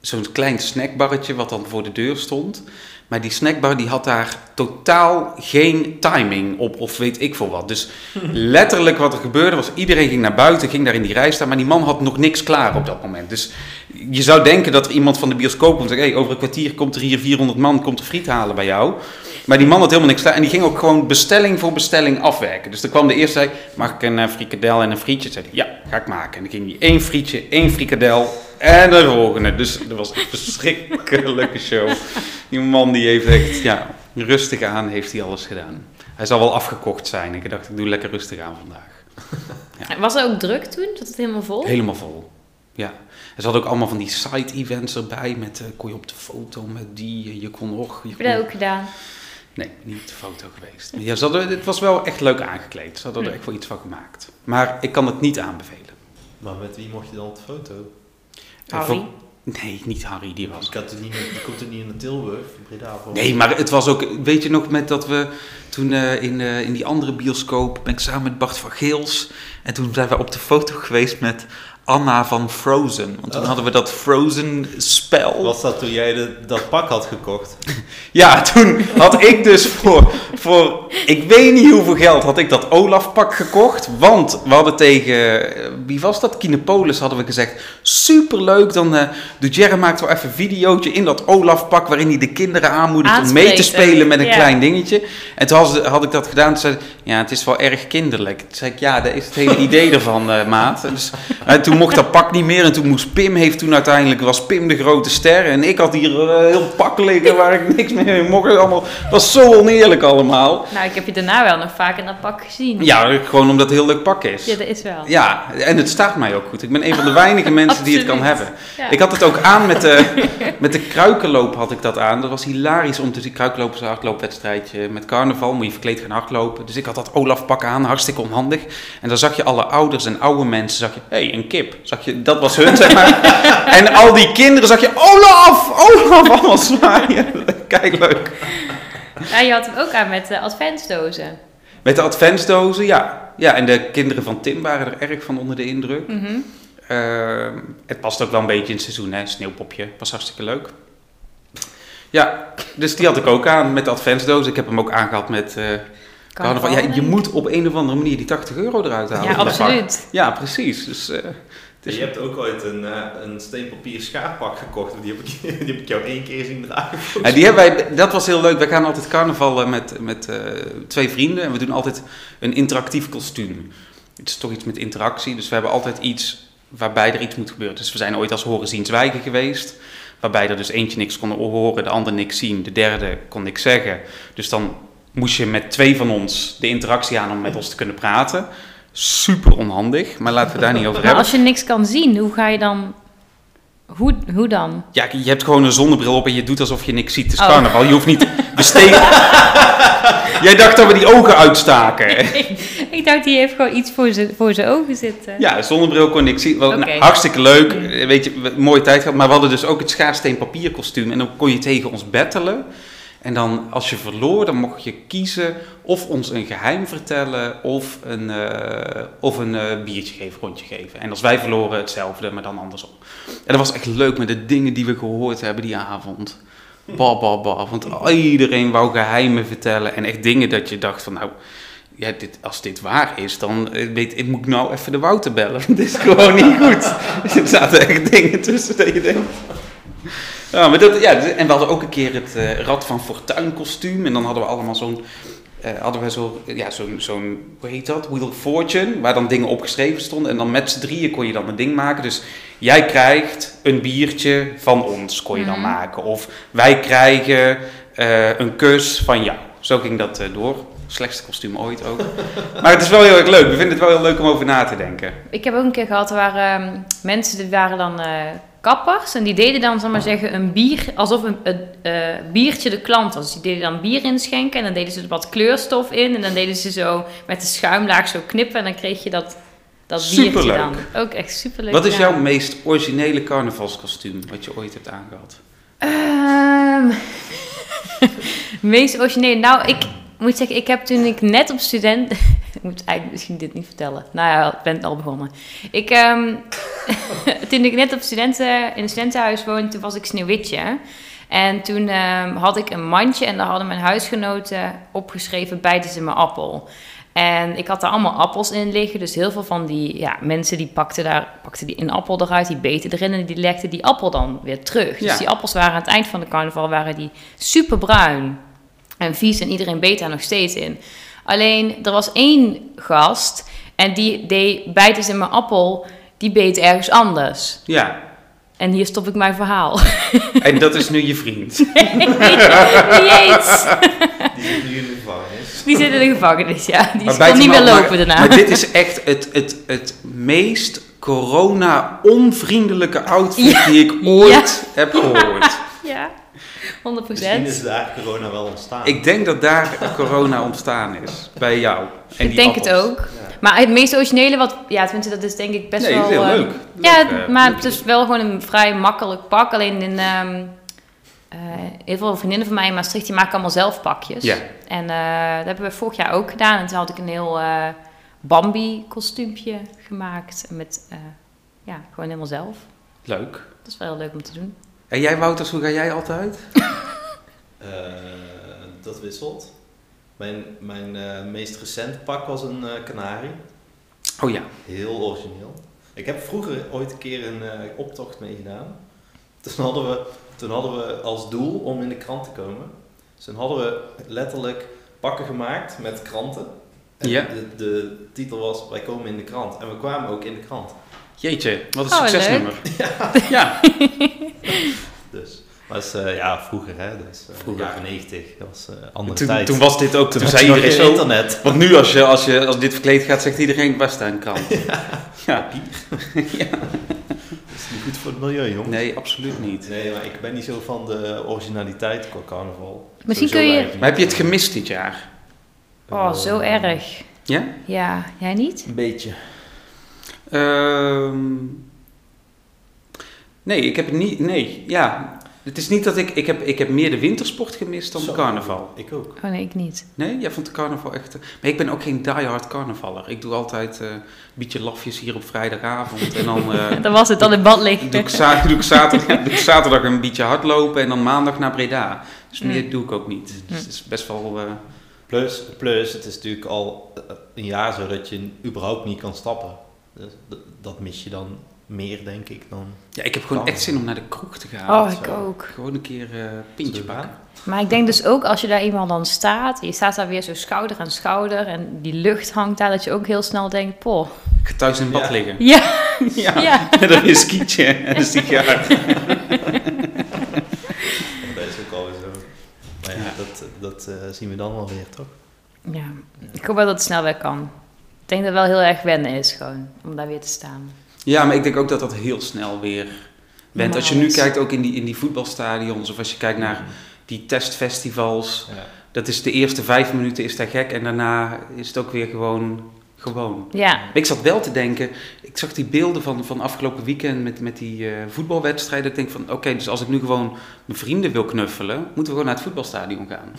S2: zo'n klein snackbarretje wat dan voor de deur stond. Maar die snackbar die had daar totaal geen timing op of weet ik veel wat. Dus letterlijk wat er gebeurde was, iedereen ging naar buiten, ging daar in die rij staan. Maar die man had nog niks klaar op dat moment. Dus je zou denken dat er iemand van de bioscoop komt en zegt... Hey, over een kwartier komt er hier 400 man, komt er friet halen bij jou. Maar die man had helemaal niks klaar. En die ging ook gewoon bestelling voor bestelling afwerken. Dus er kwam de eerste zei, mag ik een eh, frikadel en een frietje? Zei hij, ja, ga ik maken. En dan ging hij één frietje, één frikadel en de volgende. Dus dat was een verschrikkelijke show. Die man die heeft echt, ja, rustig aan heeft hij alles gedaan. Hij zal wel afgekocht zijn. Ik dacht, ik doe lekker rustig aan vandaag.
S3: Was er ook druk toen? Zat het helemaal vol?
S2: Helemaal vol. Ja. En ze hadden ook allemaal van die side-events erbij. Met, eh, kon je op de foto met die, en je kon nog... Je
S3: Heb je
S2: kon-
S3: dat ook gedaan?
S2: Nee, niet op de foto geweest. Maar Ja, ze hadden, het was wel echt leuk aangekleed. Ze hadden er echt wel iets van gemaakt. Maar ik kan het niet aanbevelen.
S1: Maar met wie mocht je dan op de foto?
S2: Eh,
S3: Harry?
S2: voor- Nee, niet Harry, die was
S1: Ik had het niet met, die komt er niet in de Tilburg, in Breda. voor.
S2: Nee, maar het was ook, weet je nog, met dat we toen eh, in, eh, in die andere bioscoop ben ik samen met Bart van Geels. En toen zijn we op de foto geweest met Anna van Frozen. Want toen
S1: Oh.
S2: hadden we dat Frozen-spel.
S1: Was dat toen jij de- dat pak had gekocht?
S2: Ja, toen had ik dus voor, voor, ik weet niet hoeveel geld, had ik dat Olaf-pak gekocht. Want we hadden tegen, eh, wie was dat? Kinepolis hadden we gezegd. Superleuk, dan eh Dujerre maakt wel even een videootje in dat Olaf-pak... waarin hij de kinderen aanmoedigt om mee te
S3: Aanspreekt,
S2: spelen met een
S3: ja.
S2: klein dingetje. En toen had, ze- had ik dat gedaan. Toen zei ze, ja, het is wel erg kinderlijk. Toen zei ik, ja, dat is het hele idee ervan, eh, maat. En dus, en toen mocht dat pak niet meer. En toen moest Pim, heeft toen uiteindelijk, was Pim de grote ster. En ik had hier eh, heel pak liggen waar ik niks meer in mocht. Allemaal, het was zo oneerlijk allemaal.
S3: Nou, ik heb je daarna wel nog vaak in dat pak gezien.
S2: Ja, gewoon omdat het heel leuk pak is.
S3: Ja, dat is wel.
S2: Ja, en het staat mij ook goed. Ik ben een van de weinige mensen die het kan
S3: Absoluut.
S2: hebben.
S3: Ja.
S2: Ik had het ook aan met de, met de kruikenloop had ik dat aan. Dat was hilarisch om te zien. Kruikenloop is een hardloopwedstrijdje. Met carnaval moet je verkleed gaan hardlopen. Dus ik had dat Olaf pak aan, hartstikke onhandig. En dan zag je alle ouders en oude mensen, zag je, hé, hey, een kip. Zag je, dat was hun, zeg maar. en al die kinderen zag je, Olaf, Olaf, allemaal zwaaien. Kijk, leuk.
S3: Ja, je had hem ook aan met de adventsdozen.
S2: Met de adventsdozen, ja. Ja, en de kinderen van Tim waren er erg van onder de indruk.
S3: Mhm.
S2: Ehm, het past ook wel een beetje in het seizoen, hè? Sneeuwpopje. Was hartstikke leuk. Ja, dus die had ik ook aan met de adventsdoos. Ik heb hem ook aangehad met eh, carnaval. Ja, je moet op een of andere manier die 80 euro eruit halen.
S3: Ja,
S2: van dat
S3: absoluut.
S2: pak. Ja, precies. Dus, eh, het is-
S1: Je hebt ook ooit een, eh, een steenpapier schaarpak gekocht. Die heb, ik, die heb ik jou één keer zien dragen.
S2: Ja, die hebben wij, dat was heel leuk. Wij gaan altijd carnavallen met, met eh, twee vrienden. En we doen altijd een interactief kostuum. Het is toch iets met interactie. Dus we hebben altijd iets waarbij er iets moet gebeuren. Dus we zijn ooit als horen zien zwijgen geweest. Waarbij er dus eentje niks kon horen, de ander niks zien. De derde kon niks zeggen. Dus dan moest je met twee van ons de interactie aan om met ons te kunnen praten. Super onhandig, maar laten we daar niet over
S3: Maar
S2: hebben.
S3: als je niks kan zien, hoe ga je dan... Hoe, hoe dan?
S2: Ja, je hebt gewoon een zonnebril op en je doet alsof je niks ziet. Het is
S3: Oh.
S2: carnaval. Je hoeft niet besteed. Jij dacht dat we die ogen uitstaken.
S3: ik dacht, die heeft gewoon iets voor zijn voor zijn ogen zitten.
S2: Ja, zonnebril kon ik zien. Wel, nou,
S3: Oké.
S2: hartstikke leuk. Eh, Weet je, we- mooie tijd gehad. Maar we hadden dus ook het schaarsteen papier kostuum. En dan kon je tegen ons bettelen. En dan, als je verloor, dan mocht je kiezen of ons een geheim vertellen of een, eh, of een eh, biertje geven, rondje geven. En als wij verloren, hetzelfde, maar dan andersom. En dat was echt leuk met de dingen die we gehoord hebben die avond. Ba, ba, ba. Want iedereen wou geheimen vertellen en echt dingen dat je dacht van nou, ja, dit, als dit waar is, dan eh, weet, ik moet ik nou even de Wouter bellen. dit is gewoon niet goed. er zaten echt dingen tussen dat je denkt... Ja, maar dat, ja, en we hadden ook een keer het eh, Rad van Fortuin kostuum. En dan hadden we allemaal zo'n... eh, hadden we zo, ja, zo'n, zo'n, hoe heet dat? Wheel of Fortune, waar dan dingen opgeschreven stonden. En dan met z'n drieën kon je dan een ding maken. Dus jij krijgt een biertje van ons, kon je dan
S3: Mhm.
S2: maken. Of wij krijgen eh, een kus van jou. Zo ging dat eh, door. Slechtste kostuum ooit ook. maar het is wel heel erg leuk. We vinden het wel heel leuk om over na te denken.
S3: Ik heb ook een keer gehad waar ehm, mensen, die waren dan eh, kappers. En die deden dan, zal ik maar zeggen, een bier, alsof een, een, eh, biertje de klant was. Dus die deden dan bier inschenken en dan deden ze er wat kleurstof in. En dan deden ze zo met de schuimlaag zo knippen en dan kreeg je dat, dat biertje
S2: Superleuk.
S3: dan. Ook echt superleuk.
S2: Wat is
S3: gedaan.
S2: jouw meest originele carnavalskostuum wat je ooit hebt aangehad?
S3: Ehm, meest origineel. Nou, ik moet zeggen, ik heb toen ik net op student... ik moet eigenlijk misschien dit niet vertellen. Nou ja, ik ben al begonnen. Ik, ehm, toen ik net op studenten, in een studentenhuis woonde, toen was ik sneeuwwitje. En toen ehm, had ik een mandje en daar hadden mijn huisgenoten opgeschreven... bijten ze mijn appel. En ik had daar allemaal appels in liggen. Dus heel veel van die ja, mensen die pakten, daar, pakten die een appel eruit, die beten erin en die legden die appel dan weer terug. Dus
S2: Ja.
S3: die appels waren aan het eind van de carnaval waren die superbruin en vies en iedereen beet daar nog steeds in. Alleen er was één gast en die deed bijten ze mijn appel, die beet ergens anders.
S2: Ja,
S3: En hier stop ik mijn verhaal.
S2: en dat is nu je vriend.
S3: Jeets!
S1: Die zit nu in de gevangenis.
S3: Die zit in de gevangenis, ja. Die
S2: bijt
S3: kon niet
S2: hem
S3: meer
S2: al- maar-
S3: lopen daarna.
S2: Maar dit is echt het, het, het meest corona-onvriendelijke outfit
S3: Ja.
S2: die ik ooit heb gehoord.
S3: Ja, 100
S1: Misschien is daar corona wel ontstaan.
S2: Ik denk dat daar corona ontstaan is, bij jou. En
S3: Ik
S2: die
S3: denk
S2: appels.
S3: het ook. Maar het meest originele wat... Ja, tenminste, dat is denk ik best
S2: Nee,
S3: wel...
S2: het is heel
S3: eh,
S2: leuk.
S3: Ja,
S2: Leuk, eh,
S3: maar
S2: leuk
S3: het is wel gewoon een vrij makkelijk pak. Alleen in... ehm, eh, heel veel vriendinnen van mij in Maastricht, die maken allemaal zelf pakjes.
S2: Ja.
S3: En eh, dat hebben we vorig jaar ook gedaan. En toen had ik een heel eh, Bambi-kostuumpje gemaakt. Met, eh, ja, gewoon helemaal zelf.
S2: Leuk.
S3: Dat is wel heel leuk om te doen.
S2: En jij, Wouters, hoe ga jij altijd?
S1: Eh, dat wisselt. Mijn, mijn eh, meest recent pak was een eh kanarie.
S2: Oh ja.
S1: Heel origineel. Ik heb vroeger ooit een keer een eh, optocht meegedaan. Toen hadden, we, toen hadden we als doel om in de krant te komen. Dus toen hadden we letterlijk pakken gemaakt met kranten. En
S2: Ja.
S1: de, de titel was Wij komen in de krant. En we kwamen ook in de krant.
S2: Jeetje, wat een
S3: Oh,
S2: succesnummer. Ja.
S1: Dus. Maar dat is, eh, ja, vroeger hè. Dus, eh,
S2: Vroeger.
S1: jaren 90. Dat was eh andere
S2: Toen,
S1: tijd.
S2: toen was dit
S1: Toen
S2: ook, toen
S1: had
S2: zei
S1: je nog
S2: iedereen
S1: geen
S2: zo...
S1: internet.
S2: Want nu als je, als je als dit verkleed gaat, zegt iedereen, was daar een krant. Ja.
S1: Dat is niet goed voor het milieu, jongens.
S2: Nee, absoluut niet.
S1: Nee, maar ik ben niet zo van de originaliteit qua carnaval.
S3: Misschien
S1: Sowieso
S3: kun je-
S1: eigenlijk
S2: Maar heb je het
S1: niet.
S2: gemist dit jaar?
S3: Oh, zo
S1: Eh,
S3: erg.
S2: Ja?
S3: Ja, jij niet?
S1: Een beetje.
S2: Ehm, nee, ik heb niet. Nee, ja. Het is niet dat ik. Ik heb, ik heb meer de wintersport gemist dan
S1: Zo.
S2: de carnaval.
S1: Ik ook.
S3: Oh nee, ik niet.
S2: Nee, jij vond de carnaval echt. eh, Maar ik ben ook geen diehard carnavaller. Ik doe altijd eh, een beetje lafjes hier op vrijdagavond. En dan eh,
S3: Dat was het, dan in bad liggen.
S2: doe, ik za- doe, ik zaterdag, doe ik zaterdag een beetje hardlopen en dan maandag naar Breda. Dus meer
S3: Mm.
S2: doe ik ook niet. Dus het is best wel. eh,
S1: Plus, plus, het is natuurlijk al eh, een jaar zo dat je überhaupt niet kan stappen. Dus d- dat mis je dan meer, denk ik, dan...
S2: ja, ik heb gewoon
S1: Kan.
S2: echt zin om naar de kroeg te gaan.
S3: Oh, ik ook.
S2: Gewoon een keer eh pintje
S1: Zullen we
S2: pakken.
S3: Maar ik denk dus ook als je daar eenmaal dan staat, je staat daar weer zo schouder aan schouder en die lucht hangt daar, dat je ook heel snel denkt, poh.
S2: Ik ga thuis in bad
S1: Ja.
S2: liggen.
S3: Ja,
S2: Ja,
S3: Ja.
S2: met een whiskietje en een sigaar.
S1: Ja, Dat is ook alweer zo. Maar ja,
S2: Ja.
S1: dat, dat eh, zien we dan wel weer, toch?
S3: ja. ik hoop wel dat het snel weer kan. Ik denk dat het wel heel erg wennen is gewoon, om daar weer te staan.
S2: Ja, maar ik denk ook dat dat heel snel weer bent. Als je nu
S3: Normaal is.
S2: kijkt ook in die, in die voetbalstadions of als je kijkt naar die testfestivals.
S1: Ja.
S2: Dat is de eerste vijf minuten is daar gek en daarna is het ook weer gewoon gewoon.
S3: Ja,
S2: Ik zat wel te denken, ik zag die beelden van, van afgelopen weekend met, met die eh, voetbalwedstrijden. Ik denk van, oké, dus als ik nu gewoon mijn vrienden wil knuffelen, moeten we gewoon naar het voetbalstadion gaan.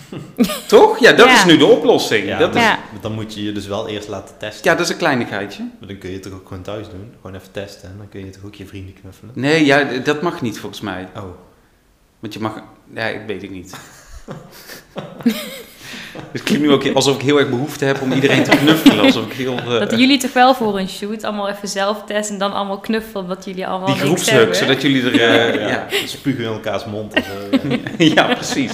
S2: Toch? Ja, dat
S3: Ja.
S2: is nu de oplossing.
S1: Ja,
S2: dat is,
S1: maar-
S2: ja.
S3: Ja.
S1: maar Dan moet je je dus wel eerst laten testen.
S2: dat is een kleinigheidje.
S1: Maar dan kun je het toch ook gewoon thuis doen? Gewoon even testen en dan kun je toch ook je vrienden knuffelen?
S2: Nee, ja, d- dat mag niet volgens mij.
S1: Oh,
S2: Want je mag... Ja, ik weet het niet. Het klinkt nu ook alsof ik heel erg behoefte heb om iedereen te knuffelen. Alsof ik heel, eh,
S3: Dat jullie toch wel voor een shoot allemaal even zelf testen en dan allemaal knuffelen wat jullie allemaal
S2: die
S3: niks
S2: groepshug,
S3: hebben.
S2: zodat jullie er...
S1: Ja,
S2: eh,
S1: ja.
S2: ja.
S1: Spugen in elkaars mond en zo. ja.
S2: ja, precies.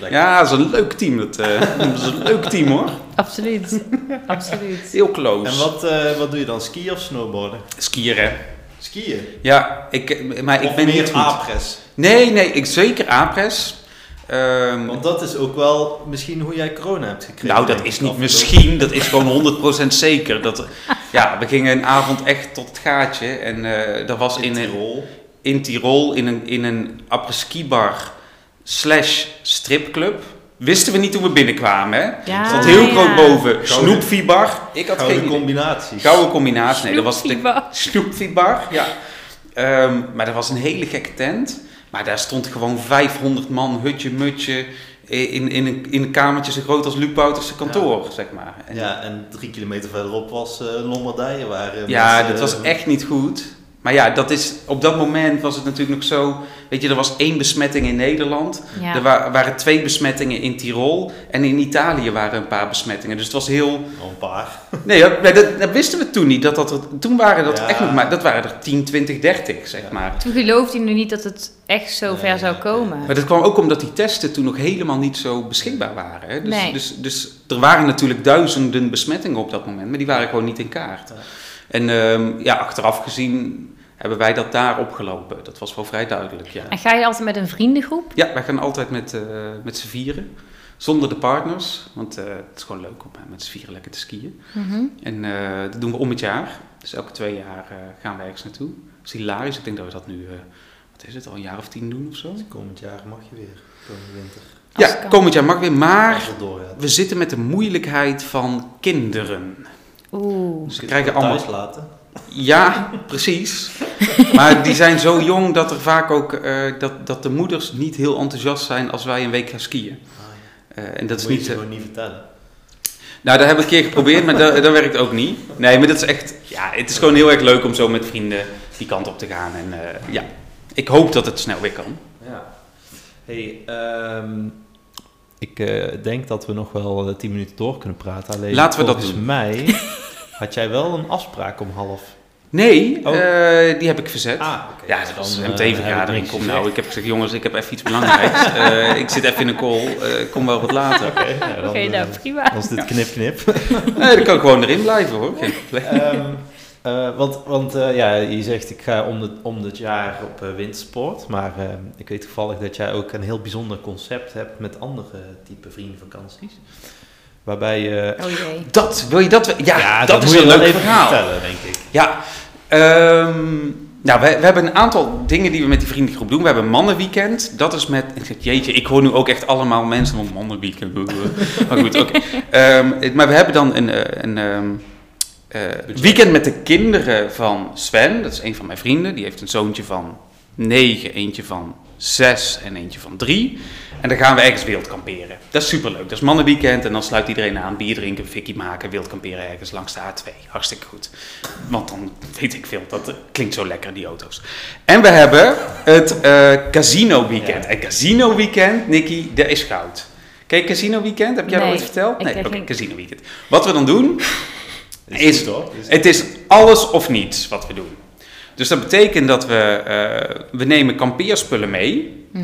S1: Lekker.
S2: Ja, dat is een leuk team. Dat, eh, dat is een leuk team hoor.
S3: Absoluut, absoluut.
S2: Heel close.
S1: En wat, eh, wat doe je dan? Skiën of snowboarden?
S2: Skieren.
S1: Skiën.
S2: Ja, ik, eh, maar ik
S1: of
S2: ben
S1: meer
S2: niet goed.
S1: apres.
S2: Nee, nee, ik, zeker apres. Ehm,
S1: Want dat is ook wel misschien hoe jij corona hebt gekregen.
S2: nou, dat
S1: denk ik,
S2: is niet
S1: af en toe.
S2: misschien, dat is gewoon 100% zeker. Dat, ja, we gingen een avond echt tot het gaatje. En eh dat was in,
S1: In
S2: een,
S1: Tirol.
S2: in Tirol in een, in een ski bar slash stripclub. Wisten we niet toen we binnenkwamen, hè?
S3: Ja,
S2: stond heel
S3: ja.
S2: groot boven.
S1: Gouden-
S2: Snoepviebar. Ik had
S1: Gouden
S2: geen idee.
S1: combinaties.
S2: Gouden combinatie. Nee, dat was de
S3: Snoepviebar.
S2: Snoepviebar. Ja. Ehm, maar dat was een hele gekke tent. Maar daar stond gewoon 500 man, hutje, mutje. In, in, een, in een kamertje zo groot als Luc Bouterse kantoor, zeg maar. En-
S1: Ja, en drie kilometer verderop was eh Lombardije. Waar, eh,
S2: ja,
S1: mensen,
S2: dat was
S1: eh,
S2: echt niet goed. Maar ja, dat is, op dat moment was het natuurlijk nog zo... Weet je, er was één besmetting in Nederland.
S3: Ja.
S2: Er wa- waren twee besmettingen in Tirol. En in Italië waren een paar besmettingen. Dus het was heel...
S1: al Een paar.
S2: Nee, dat, nee, dat, dat wisten we toen niet. Dat, dat er- toen waren dat
S1: Ja.
S2: echt nog maar... Dat waren er 10, 20, 30, zeg
S1: Ja.
S2: maar.
S3: Toen geloofde je nu niet dat het echt zo
S1: Nee,
S3: ver zou
S1: nee.
S3: komen.
S2: Maar dat kwam ook omdat die testen toen nog helemaal niet zo beschikbaar waren. Hè? Dus,
S3: Nee.
S2: dus, dus er waren natuurlijk duizenden besmettingen op dat moment, maar die waren gewoon niet in kaart.
S1: Ja.
S2: En ehm, ja, achteraf gezien hebben wij dat daar opgelopen. Dat was wel vrij duidelijk, ja.
S3: En ga je altijd met een vriendengroep?
S2: Ja, wij gaan altijd met, eh, met z'n vieren, zonder de partners. Want eh, het is gewoon leuk om eh, met z'n vieren lekker te skiën.
S3: Mhm.
S2: En eh, dat doen we om het jaar. Dus elke twee jaar eh, gaan we ergens naartoe. Dat is hilarisch. Ik denk dat we dat nu, eh, wat is het, al een jaar of tien doen of zo?
S1: Dus komend jaar mag je weer. Komende winter.
S3: Als
S2: Ja,
S3: het kan.
S2: komend jaar mag weer, maar...
S1: Als het doorgaat.
S2: We zitten met de moeilijkheid van kinderen.
S3: Oeh.
S2: Ze krijgen allemaal. Ah,
S1: Thuis laten.
S2: Ja, precies. Maar die zijn zo jong dat er vaak ook eh, dat, dat de moeders niet heel enthousiast zijn als wij een week gaan skiën.
S1: Ah, ja.
S2: Eh, en dat is
S1: Moet je
S2: niet.
S1: ze
S2: eh,
S1: gewoon niet vertellen.
S2: nou, dat heb ik een keer geprobeerd, maar dat, dat werkt ook niet. Nee, maar dat is echt. Ja, het is gewoon heel erg leuk om zo met vrienden die kant op te gaan. En eh, ja, ik hoop dat het snel weer kan.
S1: Ja. Hey, ehm, ik eh, denk dat we nog wel eh, 10 minuten door kunnen praten. Alleen
S2: Laten we dat
S1: volgens
S2: doen.
S1: mij had jij wel een afspraak om half.
S2: Nee,
S1: Oh.
S2: eh, die heb ik verzet.
S1: Ah, oké.
S2: Ja, dat was
S1: Dan,
S2: een
S1: eh, heb ik
S2: MT-vergadering.
S1: niks
S2: Kom
S1: gezegd.
S2: nou, ik heb gezegd, jongens, ik heb even iets belangrijks. Eh, ik zit even in een call, Eh, kom wel wat later.
S1: Oké, nou,
S3: Oké,
S1: dan, eh,
S3: nou prima.
S1: dan is dit knip knip.
S2: Nee, dan kan ik gewoon erin blijven hoor, geen probleem.
S1: Ehm, eh, want want eh, ja, je zegt ik ga om, de, om het jaar op eh, wintersport. Maar eh, ik weet toevallig dat jij ook een heel bijzonder concept hebt met andere type vriendenvakanties. Waarbij je...
S3: Oh jee.
S2: Dat, wil je dat? we- Ja, dat, is
S1: moet je
S2: een
S1: wel
S2: leuk
S1: even
S2: verhaal.
S1: vertellen, denk ik.
S2: Ja, ehm, nou, we, we hebben een aantal dingen die we met die vriendengroep doen. We hebben mannenweekend. Dat is met, ik zeg, jeetje, ik hoor nu ook echt allemaal mensen van mannenweekend. maar goed, oké. Ehm, het- maar we hebben dan een, eh, een ehm, eh, weekend met de kinderen van Sven. Dat is een van mijn vrienden. Die heeft een zoontje van 9, eentje van 6 en eentje van 3. En dan gaan we ergens wild kamperen. Dat is superleuk. Dat is mannenweekend en dan sluit iedereen aan. Bier drinken, fikkie maken, wild kamperen ergens langs de A2. Hartstikke goed. Want dan weet ik veel, dat eh, klinkt zo lekker, die auto's. En we hebben het eh, Casino Weekend.
S1: Ja.
S2: En Casino Weekend, Nicky, dat is goud. Kijk, Casino Weekend, heb jij dat
S3: Nee,
S2: ooit verteld?
S3: ik
S2: Nee,
S3: ken
S2: oké,
S3: geen-
S2: Casino Weekend. Wat we dan doen, Is-
S1: goed, hoor. Is-
S2: het is alles of niets wat we doen. Dus dat betekent dat we, eh, we nemen kampeerspullen mee.
S3: Mhm.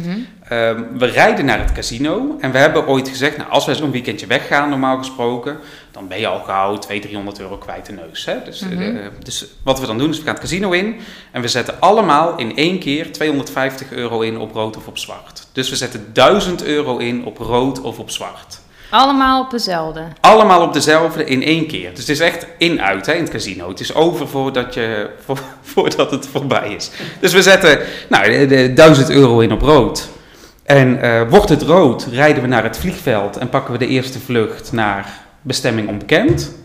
S2: Ehm, we rijden naar het casino en we hebben ooit gezegd, nou, als wij zo'n weekendje weggaan normaal gesproken, dan ben je al gauw 200, 300 euro kwijt de neus. Hè? Dus, eh,
S3: Mhm.
S2: dus wat we dan doen is, we gaan het casino in en we zetten allemaal in één keer 250 euro in op rood of op zwart. Dus we zetten 1000 euro in op rood of op zwart.
S3: Allemaal op dezelfde.
S2: Allemaal op dezelfde in één keer. Dus het is echt in-uit hè, in het casino. Het is over voordat, je, voor- voordat het voorbij is. Dus we zetten nou, de, de 1000 euro in op rood. En eh, wordt het rood, rijden we naar het vliegveld en pakken we de eerste vlucht naar bestemming onbekend.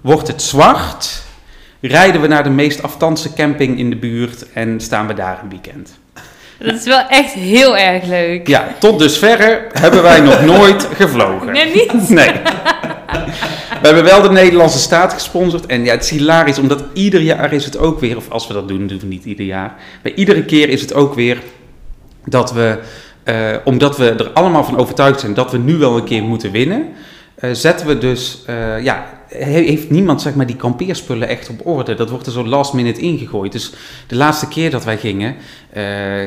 S2: Wordt het zwart, rijden we naar de meest aftandse camping in de buurt en staan we daar een weekend.
S3: Dat is wel echt heel erg leuk.
S2: Ja, tot dusverre hebben wij nog nooit gevlogen.
S3: Nee, niet?
S2: Nee. We hebben wel de Nederlandse staat gesponsord. En ja, het is hilarisch, omdat ieder jaar is het ook weer... Of als we dat doen, doen we niet ieder jaar. Maar iedere keer is het ook weer dat we... eh, omdat we er allemaal van overtuigd zijn dat we nu wel een keer moeten winnen... eh, zetten we dus, eh, ja, he- heeft niemand zeg maar die kampeerspullen echt op orde. Dat wordt er zo last minute ingegooid. Dus de laatste keer dat wij gingen, eh,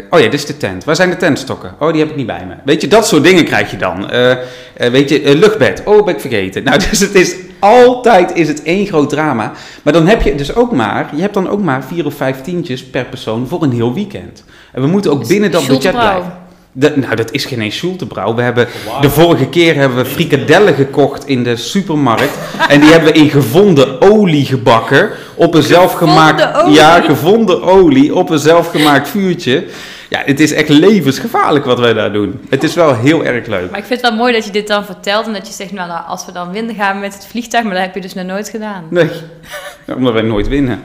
S2: oh ja, dit is de tent. Waar zijn de tentstokken? Oh, die heb ik niet bij me. Weet je, dat soort dingen krijg je dan. Eh, eh, weet je, eh, luchtbed. Oh, ben ik vergeten. Nou, dus het is altijd is het één groot drama. Maar dan heb je dus ook maar, je hebt dan ook maar vier of vijf tientjes per persoon voor een heel weekend. En we moeten ook
S3: Dus
S2: binnen dat budget
S3: Schultebrouw.
S2: blijven. Dat- nou, dat is geen eens Schultebrouw. We hebben de vorige keer hebben we frikadellen gekocht in de supermarkt. En die hebben we in gevonden olie gebakken. Op een zelfgemaakt...
S3: Gevonden olie?
S2: Ja, gevonden olie op een zelfgemaakt vuurtje. Ja, het is echt levensgevaarlijk wat wij daar doen. Het is wel heel erg leuk.
S3: Maar ik vind het wel mooi dat je dit dan vertelt en dat je zegt, nou, nou, als we dan winnen gaan we met het vliegtuig, maar dat heb je dus nog nooit gedaan.
S2: Nee, omdat wij nooit winnen.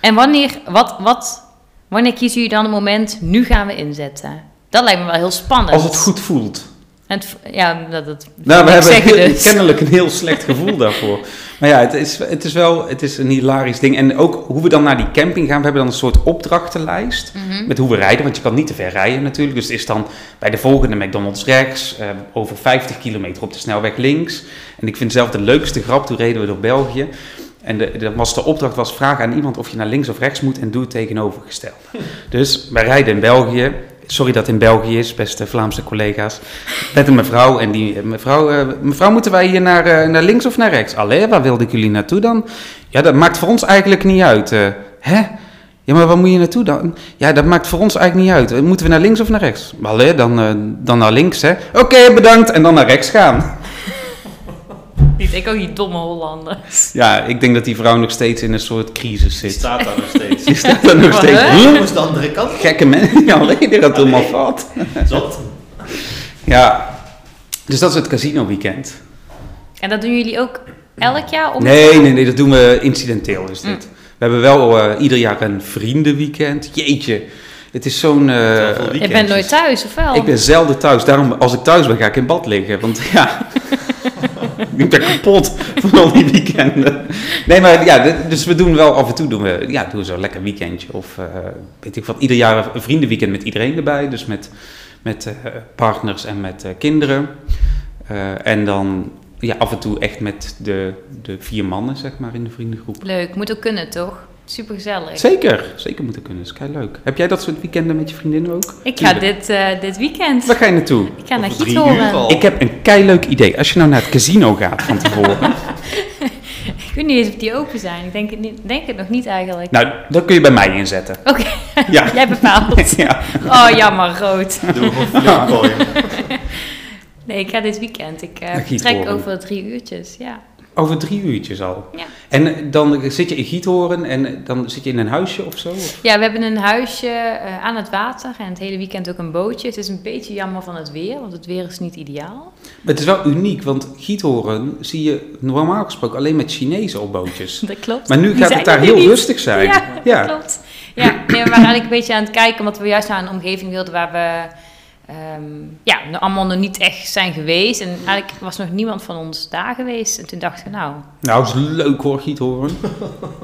S3: En wanneer, wat, wat, wanneer kiezen jullie dan het moment, nu gaan we inzetten? Dat lijkt me wel heel spannend.
S2: Als het goed voelt.
S3: En het- ja, dat, dat
S2: Nou, we
S3: ik
S2: hebben
S3: zeggen
S2: heel-
S3: dus.
S2: kennelijk een heel slecht gevoel daarvoor. Maar ja, het is, het is wel het is een hilarisch ding. En ook hoe we dan naar die camping gaan. We hebben dan een soort opdrachtenlijst met hoe we rijden. Want je kan niet te ver rijden natuurlijk. Dus het is dan bij de volgende McDonald's rechts. eh, over 50 kilometer op de snelweg links. En ik vind zelf de leukste grap. Toen reden we door België. En de, de, was de opdracht was vraag aan iemand of je naar links of rechts moet. En doe het tegenovergestelde. Dus wij rijden in België. Sorry dat het in België is, beste Vlaamse collega's. Met een mevrouw. En die eh, mevrouw, eh, mevrouw moeten wij hier naar, eh, naar links of naar rechts? Allee, waar wilden jullie naartoe dan? Ja, dat maakt voor ons eigenlijk niet uit. eh. hè? Ja, maar waar moet je naartoe dan? Ja, dat maakt voor ons eigenlijk niet uit. Eh, Moeten we naar links of naar rechts? Allee, dan, eh, dan naar links, hè? Oké, bedankt. En dan naar rechts gaan.
S3: Niet, ik ook die domme Hollanders.
S2: Ja, ik denk dat die vrouw nog steeds in een soort crisis
S1: Die
S2: zit.
S1: staat daar nog steeds.
S2: Die staat daar nog
S3: Wat,
S2: steeds.
S3: hè?
S2: Huh?
S1: Hoe is de andere kant?
S2: Gekke mensen. Ja, allee, die gaat helemaal
S1: Allee.
S2: fout.
S1: Zat.
S2: Ja. Dus dat is het casino weekend.
S3: En dat doen jullie ook elk jaar? Om...
S2: Nee, nee, nee, dat doen we incidenteel is dit. We hebben wel eh, ieder jaar een vriendenweekend. Jeetje, het is zo'n... eh,
S1: Zoveel weekendjes.
S3: Je bent nooit thuis, of wel?
S2: ik ben zelden thuis, daarom als ik thuis ben ga ik in bad liggen. Want ja, ik ben kapot van al die weekenden. Nee, maar ja, dit- dus we doen wel af en toe doen we, ja, doen we zo'n lekker weekendje. Of eh, weet ik wat, ieder jaar een vriendenweekend met iedereen erbij. Dus met, met eh, partners en met eh, kinderen. Eh, en dan ja, af en toe echt met de, de vier mannen, zeg maar, in de vriendengroep.
S3: Leuk, moet ook kunnen, toch? Supergezellig.
S2: Zeker, zeker moeten kunnen. Dat is leuk. Heb jij dat soort weekenden met je vriendinnen ook?
S3: Ik ga
S2: Tuurlijk.
S3: dit, eh, dit weekend.
S2: Waar ga je naartoe?
S3: Ik ga naar
S1: Over drie
S3: Giet
S1: uur
S3: horen.
S1: al.
S2: Ik heb een keileuk idee. Als je nou naar het casino gaat van tevoren.
S3: Ik weet niet eens of die open zijn. Ik denk het, niet, denk het nog niet eigenlijk.
S2: nou, dat kun je bij mij inzetten.
S3: Oké,
S2: Ja.
S3: jij bepaalt.
S2: ja.
S3: Oh, jammer, rood.
S1: Doe gewoon flipcoin.
S3: Nee, ik ga dit weekend. Ik eh
S2: Naar Giet
S3: vertrek
S2: horen.
S3: over drie uurtjes, ja.
S2: Over drie uurtjes al.
S3: Ja.
S2: En eh, dan zit je in Giethoorn en eh, dan zit je in een huisje of zo? of?
S3: Ja, we hebben een huisje eh, aan het water en het hele weekend ook een bootje. Het is een beetje jammer van het weer, want het weer is niet ideaal.
S2: Maar het is wel uniek, want Giethoorn zie je normaal gesproken alleen met Chinezen op bootjes.
S3: Dat klopt.
S2: Maar nu
S3: Die
S2: gaat
S3: zijn
S2: het daar
S3: er
S2: heel
S3: niet.
S2: rustig zijn.
S3: Ja, klopt. Ja, nee, we waren eigenlijk een beetje aan het kijken, omdat we juist naar een omgeving wilden waar we ehm, ja, nog allemaal nog niet echt zijn geweest. En eigenlijk was nog niemand van ons daar geweest. En toen dachten we, nou,
S2: Nou, het is leuk hoor, Giethoorn.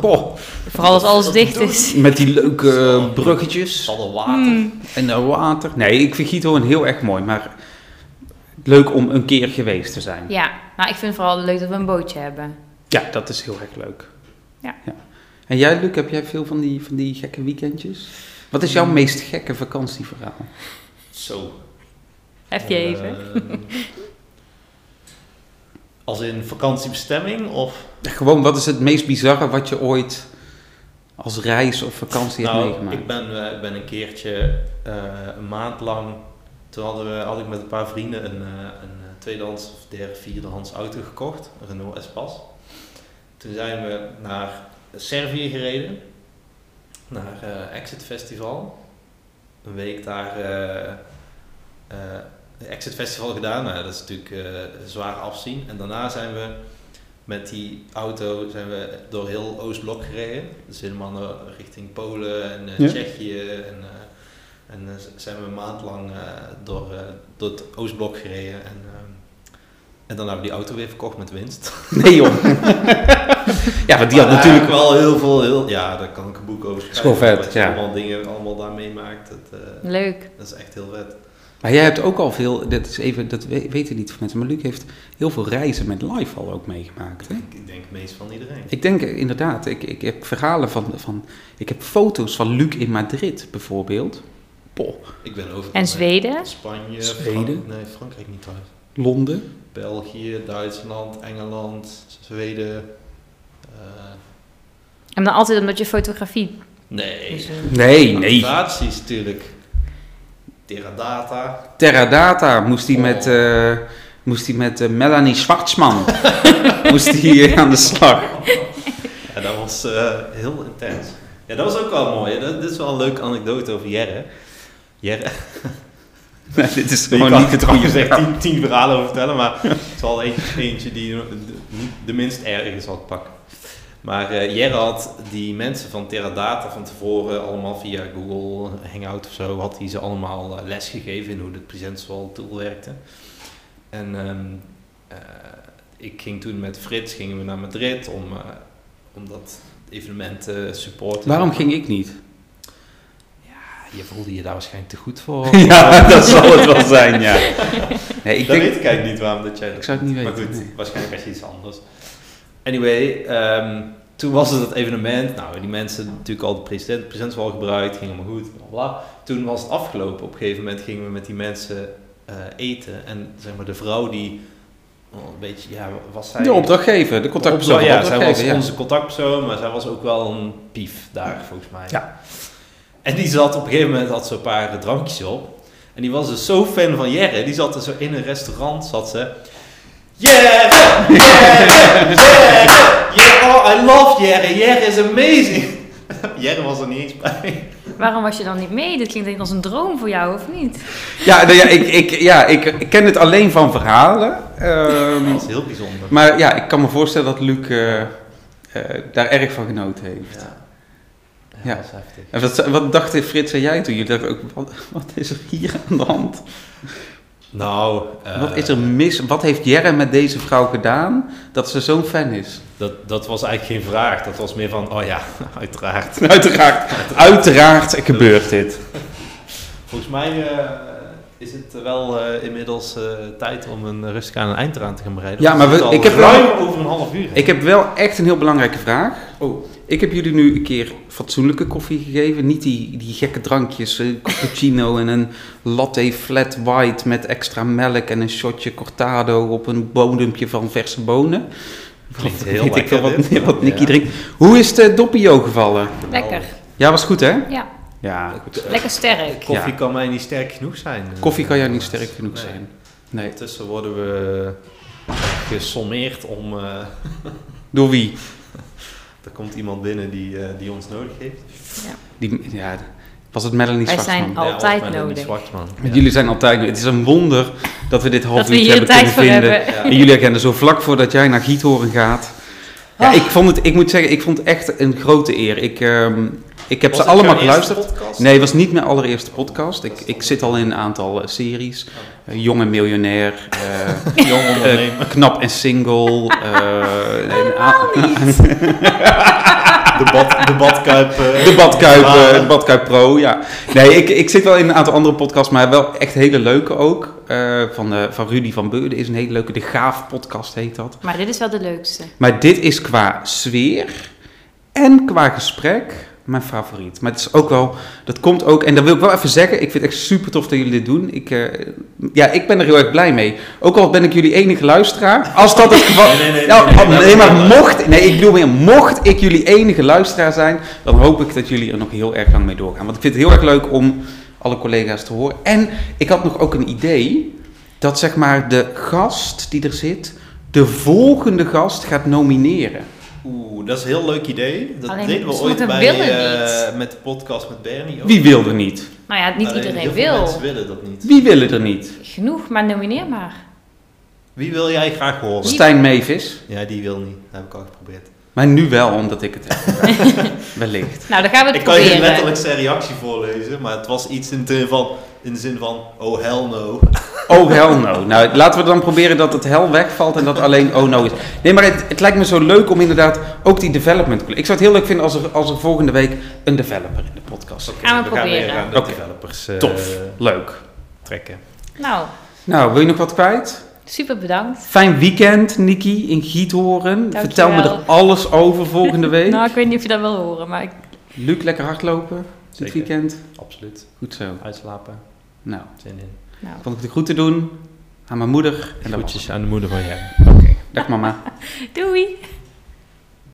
S2: Poh,
S3: vooral als alles dicht is.
S2: met die leuke eh, bruggetjes.
S1: Zal er water.
S2: En eh, water. Nee, ik vind Giethoorn heel erg mooi, maar leuk om een keer geweest te zijn.
S3: Ja, maar ik vind het vooral leuk dat we een bootje hebben.
S2: Ja, dat is heel erg leuk.
S3: Ja.
S2: En jij, Luc, heb jij veel van die, van die gekke weekendjes? Wat is jouw
S1: Mm.
S2: meest gekke vakantieverhaal?
S1: Zo.
S3: Heb je even?
S1: Ehm, als in vakantiebestemming of...
S2: Gewoon, wat is het meest bizarre wat je ooit als reis of vakantie hebt
S1: nou,
S2: meegemaakt?
S1: ik ben, eh, ik ben een keertje eh, een maand lang... Toen hadden we, had ik met een paar vrienden een, eh, een eh, tweedehands of derde, vierdehands auto gekocht. Een Renault Espace. Toen zijn we naar Servië gereden. Naar eh, Exit Festival. Een week daar... eh, eh, de Exit Festival gedaan. Nou, ja, dat is natuurlijk eh, zwaar afzien. En daarna zijn we met die auto zijn we door heel Oostblok gereden. Dus helemaal naar- richting Polen en eh,
S2: Ja.
S1: Tsjechië. En, eh, en eh, z- zijn we een maand lang eh, door, eh, door het Oostblok gereden. En, ehm, en dan hebben we die auto weer verkocht met winst.
S2: Nee, joh. ja, want die had
S1: Maar Nou,
S2: natuurlijk...
S1: eigenlijk wel heel veel... Heel, ja, daar kan ik een boek over
S2: wel
S1: schrijven.
S2: vet,
S1: wat je
S2: ja.
S1: allemaal dingen allemaal daar meemaakt. Dat, eh,
S3: Leuk.
S1: dat is echt heel vet.
S2: Maar jij hebt ook al veel, dat, is even, dat we- weten niet mensen, maar Luc heeft heel veel reizen met live al ook meegemaakt. Hè?
S1: Ik denk meest van iedereen.
S2: Ik denk eh, inderdaad, ik, ik heb verhalen van, van, ik heb foto's van Luc in Madrid bijvoorbeeld. Poh,
S1: Ik ben over.
S3: En Zweden?
S1: Spanje,
S2: Zweden?
S1: Fran- nee, Frankrijk niet thuis.
S2: Londen.
S1: België, Duitsland, Engeland, Zweden. eh,
S3: En dan altijd omdat je fotografie...
S1: nee.
S3: Dus, eh,
S2: Nee, nee.
S1: Applicaties natuurlijk. Teradata.
S2: Teradata moest hij
S1: Oh.
S2: met, eh, moest hij met eh, Melanie Schwartzman moest hij eh, aan de slag.
S1: Ja, dat was eh, heel intens. Ja, dat was ook wel mooi. Dat, dit is wel een leuke anekdote over Jerre. Jerre.
S2: Nee, dit is
S1: Ik
S2: gewoon
S1: kan
S2: niet het goede
S1: gezegd
S2: verhaal.
S1: tien, tien verhalen over vertellen, maar het is wel eentje, eentje die de, de minst erg is wat ik pak. Maar eh Jerre had die mensen van Teradata van tevoren allemaal via Google Hangout of zo, had hij ze allemaal les lesgegeven in hoe het presentieval tool werkte. En ehm, eh, ik ging toen met Frits gingen we naar Madrid om, eh, om dat evenement te supporten.
S2: Waarom ging ik niet?
S1: Ja, je voelde je daar waarschijnlijk te goed voor.
S2: Ja, dat zal het wel zijn, ja. Nee, ik
S1: dat
S2: denk,
S1: weet ik eigenlijk niet waarom dat jij
S2: ik zou het niet weten.
S1: Maar goed,
S2: nee.
S1: waarschijnlijk als je iets anders. Anyway, ehm, toen was het dat evenement. Nou, die mensen natuurlijk al de present- presents al gebruikt, ging allemaal goed, bla bla. Toen was het afgelopen. Op een gegeven moment gingen we met die mensen eh, eten. En zeg maar, de vrouw die. oh, een beetje, ja, was zij.
S2: De opdrachtgever, de contactpersoon
S1: Opdracht-
S2: van de
S1: ja, zij was
S2: opdrachtgever. Ja.
S1: onze contactpersoon, maar zij was ook wel een pief daar, volgens mij.
S2: Ja.
S1: En die zat op een gegeven moment, had ze een paar eh, drankjes op. En die was dus zo fan van Jerre, die zat er zo in een restaurant, zat ze... Jerre! Jerre! Jerre! Jerre! Oh, I love Jerre! Jerre is amazing! Jerre was er niet eens bij.
S3: Waarom was je dan niet mee? Dit klinkt echt als een droom voor jou, of niet?
S2: Ja, nou ja, ik, ik, ja ik, ik ken het alleen van verhalen. ehm,
S1: Dat was heel bijzonder.
S2: maar ja, ik kan me voorstellen dat Luc eh, eh, daar erg van genoten heeft.
S1: Ja.
S2: Ja.
S1: Ja, dat was heftig.
S2: En wat, wat dachten Frits en jij toen? Jullie dachten ook, wat, wat is er hier aan de hand?
S1: Nou, eh,
S2: wat is er mis? Wat heeft Jerre met deze vrouw gedaan dat ze zo'n fan is?
S1: eh, dat, dat was eigenlijk geen vraag. Dat was meer van, oh ja, uiteraard.
S2: Uiteraard, uiteraard gebeurt dit.
S1: Volgens mij eh, is het wel eh, inmiddels eh, tijd om een rustig aan een eind eraan te gaan bereiden.
S2: Ja,
S1: Want
S2: maar
S1: het
S2: we-
S1: is al
S2: ik heb
S1: ruim
S2: wel-
S1: over een half uur.
S2: Ik heb wel echt een heel belangrijke vraag.
S1: Oh.
S2: Ik heb jullie nu een keer fatsoenlijke koffie gegeven. Niet die, die gekke drankjes, eh, cappuccino en een latte flat white met extra melk en een shotje cortado op een bonumpje van verse bonen.
S1: Klinkt
S2: Wat
S1: heel
S2: weet ik
S1: lekker,
S2: wel wat,
S1: dit.
S2: wat Nicky
S1: Ja.
S2: drinkt. Hoe is de doppio gevallen?
S3: Lekker.
S1: Oh.
S2: Ja, was goed hè?
S3: Ja,
S2: Ja.
S3: lekker sterk.
S1: Koffie
S2: Ja.
S1: kan mij niet sterk genoeg zijn.
S2: Koffie kan jou
S1: Eh,
S2: niet sterk genoeg
S1: nee.
S2: zijn. Nee.
S1: Intussen worden we gesommeerd om... eh,
S2: Door wie?
S1: er komt iemand binnen die, eh, die ons nodig heeft.
S2: Die, ja, was het Melanie
S3: Wij
S2: Zwartman?
S3: zijn Altijd
S1: of met een
S3: nodig.
S1: Zwartman.
S2: Want Jullie zijn altijd... Het is een wonder dat we dit half
S3: Dat we
S2: uurtje
S3: hier
S2: hebben
S3: tijd
S2: kunnen
S3: voor
S2: vinden.
S3: hebben.
S1: Ja.
S2: En jullie herkennen zo vlak voordat jij naar Giethoorn gaat. Ja,
S3: Ah.
S2: ik, vond het, ik moet zeggen, ik vond het echt een grote eer. Ik, ehm, ik heb
S1: Was
S2: ze
S1: dit
S2: allemaal
S1: jouw eerste
S2: geluisterd.
S1: podcast?
S2: Nee, het was niet mijn allereerste podcast.
S1: Dat
S2: Ik,
S1: is
S2: ik
S1: dan-
S2: zit al in een aantal eh, series.
S1: Oh.
S2: Eh, Jong en miljonair, eh,
S1: Jong ondernemer.
S2: eh, knap en single. eh, en a-
S1: de, bad, de badkuip. eh,
S2: de Badkuip, eh,
S1: Laden.
S2: de Badkuip Pro, ja. Nee, ik, ik zit wel in een aantal andere podcasts, maar wel echt hele leuke ook. Eh, van, eh, van Rudy van Beurden is een hele leuke. De Gaaf podcast heet dat.
S3: Maar dit is wel de leukste.
S2: Maar dit is qua sfeer en qua gesprek mijn favoriet. Maar het is ook wel, dat komt ook, en dat wil ik wel even zeggen, ik vind het echt super tof dat jullie dit doen. Ik, eh, ja, ik ben er heel erg blij mee. Ook al ben ik jullie enige luisteraar, als dat het geval...
S1: Nee, nee, nee,
S2: Nou,
S1: nee, nee,
S2: nee,
S1: dat is
S2: maar
S1: wel-
S2: mocht, nee, ik bedoel meer, mocht ik jullie enige luisteraar zijn, dan hoop ik dat jullie er nog heel erg lang mee doorgaan. Want ik vind het heel erg leuk om alle collega's te horen. En ik had nog ook een idee, dat zeg maar de gast die er zit, de volgende gast gaat nomineren.
S1: Oeh, dat is een heel leuk idee. Dat
S3: Alleen,
S1: deden we
S3: ze
S1: ooit
S3: moeten
S1: bij,
S3: willen
S1: eh,
S3: niet.
S1: met de podcast met Bernie. ook.
S2: Wie wil er niet?
S3: Nou ja, niet
S1: Alleen,
S3: iedereen
S1: heel veel Mensen
S3: wil.
S1: willen dat niet.
S2: Wie wil er niet?
S3: Genoeg, maar nomineer maar.
S1: Wie wil jij graag horen?
S2: Stijn Mevis.
S1: Ja, die wil niet. Dat heb ik al geprobeerd.
S2: Maar nu wel, omdat ik het heb. Wellicht.
S3: Nou, dan gaan we het
S1: Ik kan je
S3: proberen.
S1: letterlijk zijn reactie voorlezen, maar het was iets in de zin van, in de zin van oh hell no.
S2: Oh, hell no. Nou, laten we dan proberen dat het hel wegvalt en dat alleen oh no is. Nee, maar het, het lijkt me zo leuk om inderdaad ook die development... Ik zou het heel leuk vinden als er, als er volgende week een developer in de podcast zit.
S3: Gaan we proberen.
S1: weer aan eh, de
S2: Oké.
S1: developers. eh,
S2: Tof. Leuk.
S1: trekken.
S3: Nou,
S2: Nou, wil je nog wat kwijt?
S3: super bedankt.
S2: Fijn weekend, Nikki, in Giethoorn.
S3: Dankjewel.
S2: Vertel me er alles over volgende week.
S3: Nou, ik weet niet of je dat wil horen, maar ik...
S2: Luc, lekker hardlopen dit
S1: Zeker.
S2: weekend.
S1: Absoluut.
S2: Goed zo.
S1: Uitslapen,
S2: Nou,
S1: zin in.
S3: Nou,
S2: kan ik de groeten doen aan mijn moeder. En dat was
S1: Groetjes aan de moeder van jij.
S2: het. Dag mama.
S3: doei!